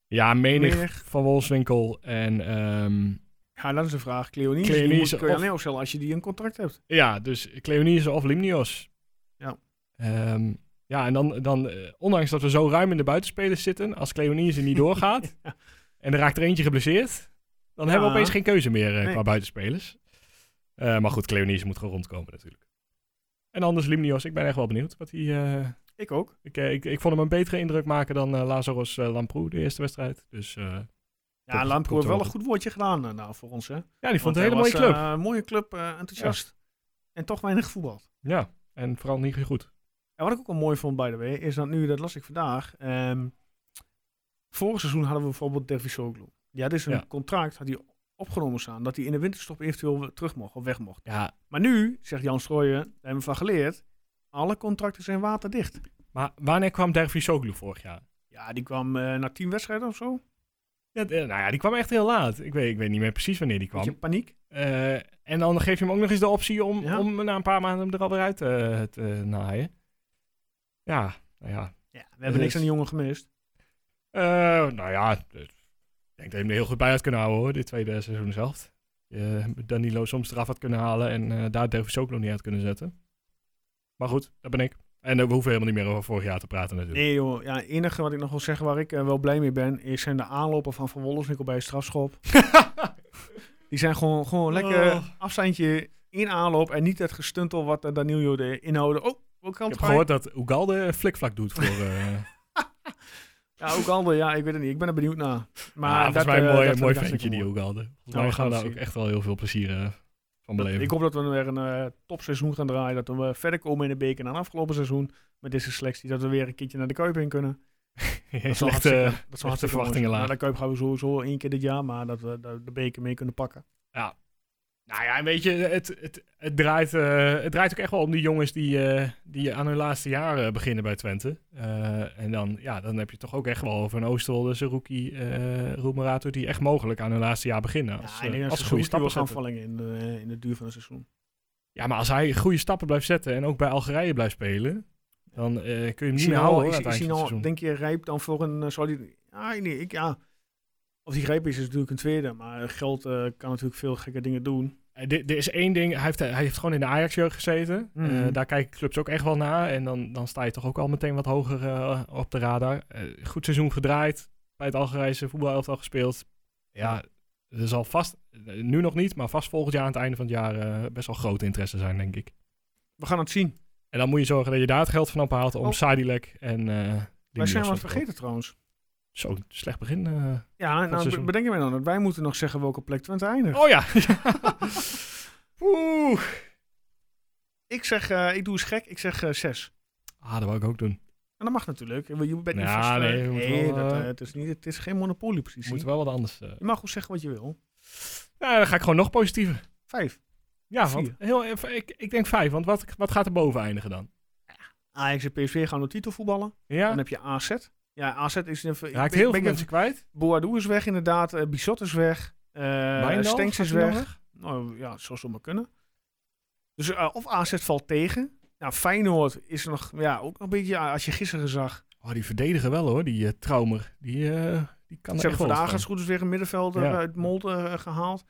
B: menig,
A: Menig.
B: van Wolfswinkel en ehm,
A: Ja, dat is een vraag. Cleonies,
B: Cleonice
A: die moet, eh, kun je
B: of-
A: alleen opstellen als je die een contract hebt.
B: Ja, dus Cleonice of Limnios.
A: Ja.
B: Ehm, ja, en dan, dan eh, ondanks dat we zo ruim in de buitenspelers zitten, als Cleonice niet
A: [LAUGHS]
B: doorgaat en er raakt er eentje geblesseerd, dan
A: Ja.
B: hebben we opeens geen keuze meer eh,
A: Nee.
B: qua buitenspelers. Eh, maar goed, Cleonice moet gewoon rondkomen natuurlijk. En anders Limnios, ik ben echt wel benieuwd. Wat hij. eh,
A: Ik ook.
B: ik, eh, ik, ik vond hem een betere indruk maken dan eh, Lazarus eh, Lamproe, de eerste wedstrijd. Dus eh,
A: Ja,
B: Komt-
A: Lamproe
B: komt
A: heeft wel
B: wel
A: een goed woordje gedaan eh, nou, voor ons. Hè?
B: ja, die vond het
A: Want
B: een hele
A: hij
B: mooie
A: was,
B: club.
A: eh, Een mooie club, eh, enthousiast. En toch weinig voetbal.
B: ja, en vooral niet goed.
A: En wat ik ook wel mooi vond, by the way, is dat nu, dat las ik vandaag. ehm, vorig seizoen hadden we bijvoorbeeld Dervisoglu. Ja, dit is een
B: Ja.
A: contract, had hij opgenomen staan, dat hij in de winterstop eventueel weer terug mocht of weg mocht.
B: Ja,
A: Maar nu, zegt Jan Strooijen, daar hebben we van geleerd, alle contracten zijn waterdicht.
B: maar wanneer kwam Dervisoglu vorig jaar?
A: Ja, die kwam eh, na tien wedstrijden of zo.
B: Ja, d- eh, nou ja, die kwam echt heel laat. Ik weet, ik weet niet meer precies wanneer die kwam.
A: Beetje paniek.
B: Eh, en dan geef je hem ook nog eens de optie om,
A: Ja.
B: om na een paar maanden hem er alweer uit eh, te naaien. Ja, nou ja.
A: Ja, we hebben niks aan die jongen gemist.
B: Eh, nou ja, ik denk dat je hem er heel goed bij had kunnen houden hoor, dit tweede seizoen zelf. Je Danilo soms eraf had kunnen halen en eh daar Dervis ook nog niet uit kunnen zetten. Maar goed, dat ben ik. En eh, we hoeven helemaal niet meer over vorig jaar te praten natuurlijk.
A: Nee joh, ja, het enige wat ik nog wil zeggen waar ik eh, wel blij mee ben, is zijn de aanlopen van Van Wolfswinkel bij het
B: [LAUGHS]
A: strafschop. die zijn gewoon, gewoon lekker
B: Oh.
A: afstandje in aanloop en niet het gestuntel wat uh, Danilo de inhouden. Oh, ook
B: Ik
A: kant
B: heb gehoord dat Ugalde flikvlak doet voor... eh,
A: Ja, ook Alde, ja, ik weet het niet. Ik ben er benieuwd naar. Maar
B: Maar
A: dat,
B: volgens mij
A: eh,
B: een mooi,
A: dat
B: mooi
A: vind ik
B: ventje die
A: hartstikke
B: Oegalde. Volgens
A: Nou,
B: mij
A: we gaan
B: gaan we
A: het
B: daar ook
A: zien.
B: echt wel heel veel plezier eh, van
A: mooi.
B: beleven. [LAUGHS]
A: Ik hoop dat we weer een eh, topseizoen gaan draaien. Dat we verder komen in de beker dan afgelopen seizoen. Met deze selectie. Dat we weer een keertje naar de Kuip in kunnen.
B: dat
A: zal
B: eh, slechte,
A: hartstikke- dat zal hartstikke
B: verwachtingen
A: mooi zijn.
B: laag.
A: Nou, de Kuip gaan we sowieso één keer dit jaar. Maar dat we de, de beker mee kunnen pakken.
B: Nou ja, weet je, het, het, het, draait, eh, het draait ook echt wel om die jongens die, eh, die aan hun laatste jaren beginnen bij Twente. Eh, en dan, ja, dan heb je toch ook echt wel over een Oosterwolde, Zerouki, eh Roemerato, die echt mogelijk aan hun laatste jaar beginnen. Als,
A: Ja,
B: eh,
A: ik denk dat
B: als
A: ze
B: ze
A: zo
B: goede
A: goed
B: stappen
A: wel gaan
B: zetten.
A: vallen in de, eh, in de duur van het seizoen.
B: Ja, maar als hij goede stappen blijft zetten en ook bij Algerije blijft spelen, dan eh, kun je hem
A: Ik
B: niet
A: zie
B: meer
A: nou al-
B: houden hoor,
A: ik-
B: aan
A: ik
B: het
A: zie
B: eind van
A: nou
B: het
A: al-
B: seizoen.
A: denk je, rijp dan voor een. eh, Zou die, ah, nee, ik, ja. Of die rijp is, is natuurlijk een tweede. Maar geld eh, kan natuurlijk veel gekke dingen doen.
B: Eh, Er er is één ding, hij heeft, eh, hij heeft gewoon in de Ajax-jeugd gezeten.
A: Mhm.
B: Eh, daar kijken clubs ook echt wel naar. En dan, dan sta je toch ook al meteen wat hoger eh, op de radar. Eh, goed seizoen gedraaid, bij het Algerijse voetbalelftal gespeeld. Ja, er zal vast, eh, nu nog niet, maar vast volgend jaar aan het einde van het jaar eh, best wel groot interesse zijn, denk ik.
A: We gaan het zien.
B: En dan moet je zorgen dat je daar het geld van ophaalt om
A: Oh.
B: Sadilek en... eh
A: Wij zijn wat
B: Lindelof te kopen.
A: vergeten trouwens.
B: Zo, slecht begin. eh.
A: Ja, nou,
B: seizoen.
A: be- bedenk je mij dan dat wij moeten nog zeggen welke plek Twente eindigt. [LAUGHS]
B: Oh ja! Oeh.
A: Ik zeg, eh, ik doe eens gek, ik zeg eh, zes.
B: Ah, dat wou ik ook doen.
A: En dat mag natuurlijk. Je bent niet
B: Ja,
A: vast. eh,
B: nee, je moet
A: nee
B: wel,
A: dat,
B: eh,
A: eh, het, is niet, het is geen monopoliepositie.
B: Moet wel wat anders. eh.
A: Je mag goed zeggen wat je wil.
B: Nou, dan ga ik gewoon nog positiever.
A: Vijf.
B: Ja,
A: Vier.
B: want heel, even- ik, ik denk vijf, want wat, wat gaat er boven eindigen dan?
A: Ajax en PSV gaan door titel voetballen.
B: Ja,
A: Dan heb je AZ. Ja, AZ is... een- ik
B: raakt
A: ben-
B: heel
A: ben
B: veel
A: ik-
B: mensen kwijt.
A: Boadou is weg inderdaad. eh Bizot is weg. eh
B: Wijndal,
A: Stenks
B: gaat
A: is
B: hij nog
A: weg. Nou ja, zo zou maar kunnen. Dus eh, of AZ valt tegen. Nou, Feyenoord is nog, ja, ook nog een beetje, ja, als je gisteren zag,
B: Oh, die verdedigen wel hoor, die eh, Traumer. Die, eh, die kan
A: Ze
B: er echt
A: hebben
B: wel
A: vandaag
B: wat
A: als
B: van.
A: goed is weer een middenvelder
B: Ja.
A: uit Molde eh, gehaald.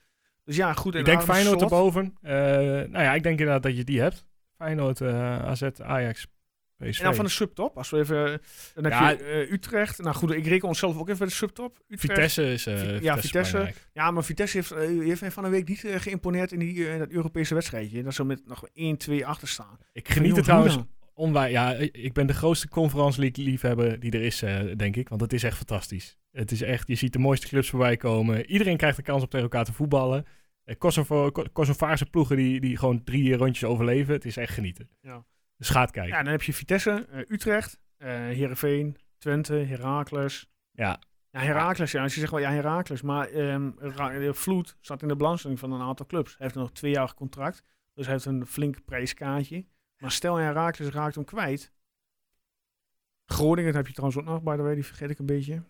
A: Dus ja, goed. en
B: Ik denk
A: Arne
B: Feyenoord
A: Slot.
B: erboven. Eh, nou ja, ik denk inderdaad dat je die hebt. Feyenoord, eh, AZ, Ajax, PSV.
A: En dan van de subtop. Als we even... eh, Dan heb
B: Ja.
A: je eh, Utrecht. Nou goed, ik reken onszelf ook even bij de subtop. Utrecht.
B: Vitesse is eh
A: Vi- ja,
B: Vitesse is
A: Vitesse.
B: belangrijk.
A: Ja, maar Vitesse heeft, eh, heeft mij van de week niet eh, geïmponeerd in die, eh, dat Europese wedstrijdje. Dat ze met nog 1-2 achter staan.
B: Ik geniet
A: Joh,
B: er trouwens
A: hoe
B: onwaar. Ja, ik ik ben de grootste Conference League liefhebber die er is, eh, denk ik. Want het is echt fantastisch. Het is echt, je ziet de mooiste clubs voorbij komen. Iedereen krijgt de kans om tegen elkaar te voetballen. Eh, Kosovo, Ko- Kosovaarse ploegen die, die gewoon drie rondjes overleven. Het is echt genieten.
A: Ja.
B: Dus gaat
A: dan?
B: kijken.
A: Ja, dan heb je Vitesse, eh, Utrecht, eh Heerenveen, Twente, Heracles.
B: Ja.
A: Ja, Heracles, ja. Als je zegt wel, ja, Heracles. Maar ehm, Ra- eh, Vloed staat in de belangstelling van een aantal clubs. Hij heeft nog twee jaar contract. Dus hij heeft een flink prijskaartje. Maar stel Heracles raakt hem kwijt. Groningen dat heb je trouwens ook nog, by the way. Die vergeet ik een beetje.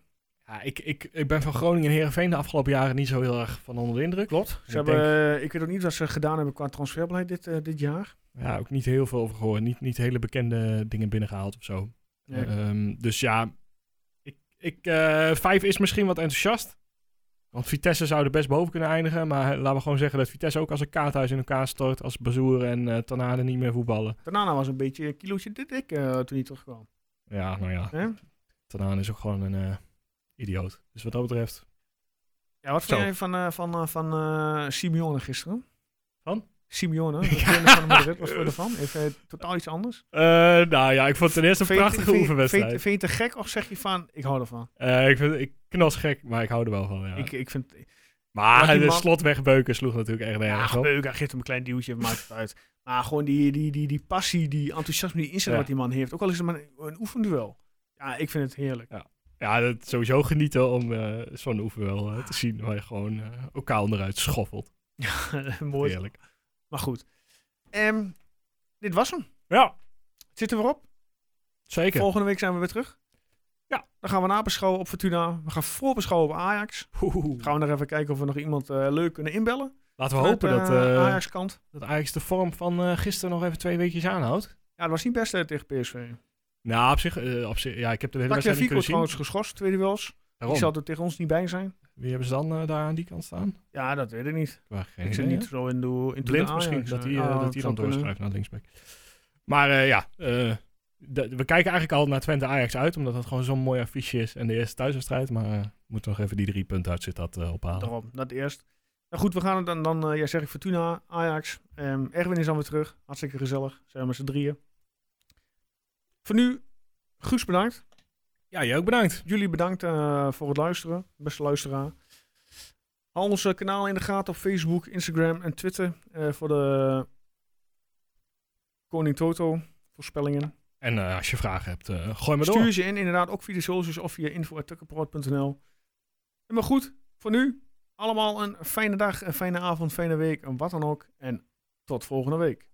B: Ja, ik, ik, ik ben van Groningen en Heerenveen de afgelopen jaren niet zo heel erg van onder de indruk. Klopt.
A: Ze hebben, eh, ik weet ook niet wat ze gedaan hebben qua transferbeleid dit, eh, dit jaar.
B: ja, ook niet heel veel over gehoord. Niet, niet hele bekende dingen binnengehaald of zo.
A: Nee.
B: Ehm, dus ja, ik, ik, eh, vijf is misschien wat enthousiast. Want Vitesse zou er best boven kunnen eindigen. Maar laten we gewoon zeggen dat Vitesse ook als een kaarthuis in elkaar stort. Als Bazoer en eh Tanade niet meer voetballen.
A: Daarna was een beetje een kilootje te dik eh, toen hij terugkwam.
B: Ja, nou ja.
A: Hè?
B: Tanane is ook gewoon een eh, idioot. Dus wat dat betreft.
A: Ja, wat vond
B: Zo.
A: jij van, eh, van, eh, van eh, Simeone gisteren?
B: Van? [LAUGHS]
A: Simeone, de
B: Ja.
A: trainer van Madrid. Wat vond je ervan? Even eh, totaal iets anders.
B: Eh, nou ja, ik vond het ten eerste een
A: Vind je-
B: prachtige
A: vind je-
B: oefenwedstrijd.
A: Vind, je- vind je het te gek of zeg je van, ik hou ervan?
B: Eh, ik vind ik knas gek, maar ik hou er wel van. Ja.
A: Ik, ik vind,
B: maar
A: maar die
B: de
A: man-
B: slot wegbeuken sloeg natuurlijk echt
A: ja,
B: nergens op.
A: gebeuk, hij geeft hem een klein duwtje, maakt het uit. Maar gewoon die, die, die, die passie, die enthousiasme, die inzet
B: Ja.
A: wat die man heeft. Ook al is het maar een, een oefenduel. Ja, ik vind het heerlijk. [LAUGHS]
B: Ja, dat sowieso genieten om eh, zo'n oefenwel eh, te zien waar je gewoon eh, elkaar onderuit schoffelt.
A: Mooi.
B: Heerlijk.
A: Maar goed. Ehm, dit was hem.
B: Ja,
A: Het zit er weer op.
B: zeker.
A: Volgende week zijn we weer terug. Ja, dan gaan we nabeschouwen op Fortuna. We gaan voorbeschouwen op Ajax.
B: Oeh.
A: Gaan we nog even kijken of we nog iemand eh, leuk kunnen inbellen.
B: Laten we hopen dat,
A: Vanuit, eh,
B: eh,
A: Ajax-kant.
B: dat Ajax de vorm van eh, gisteren nog even twee weekjes aanhoudt.
A: Ja, dat was niet best eh, tegen PSV.
B: Nou, op zich, eh, op zich ja, ik heb de hele wedstrijd
A: Tagliafico
B: niet kunnen zien.
A: trouwens geschorst, tweede wels.
B: Waarom?
A: Die zal er tegen ons niet bij zijn.
B: Wie hebben ze dan eh, daar aan die kant staan?
A: Ja, dat weet ik niet.
B: Waar geen
A: ik zit
B: idee,
A: niet zo in de ah, in
B: hè? Blind misschien, dat hij eh, dat hij dan doorschuift naar linksback. Maar eh, ja, eh, de- we kijken eigenlijk al naar Twente Ajax uit, omdat dat gewoon zo'n mooi affiche is en de eerste thuiswedstrijd. Maar eh, we moeten nog even die drie punten uit zit dat eh, ophalen.
A: Daarom, dat eerst. Nou goed, we gaan het dan, dan eh, jij zegt Fortuna, Ajax. Ehm, Erwin is dan weer terug. Hartstikke gezellig. Zijn we met z'n drieën. Voor nu, Guus bedankt.
B: Ja, jij ook bedankt.
A: Jullie bedankt eh, voor het luisteren, beste luisteraar. Hou onze kanaal in de gaten op Facebook, Instagram en Twitter eh, voor de Koning Toto voorspellingen.
B: En eh, als je vragen hebt, eh, gooi maar door.
A: Stuur ze in, inderdaad, ook via de socials of via info.tukkenproot.nl. En maar goed, voor nu allemaal een fijne dag, een fijne avond, fijne week en wat dan ook. En tot volgende week.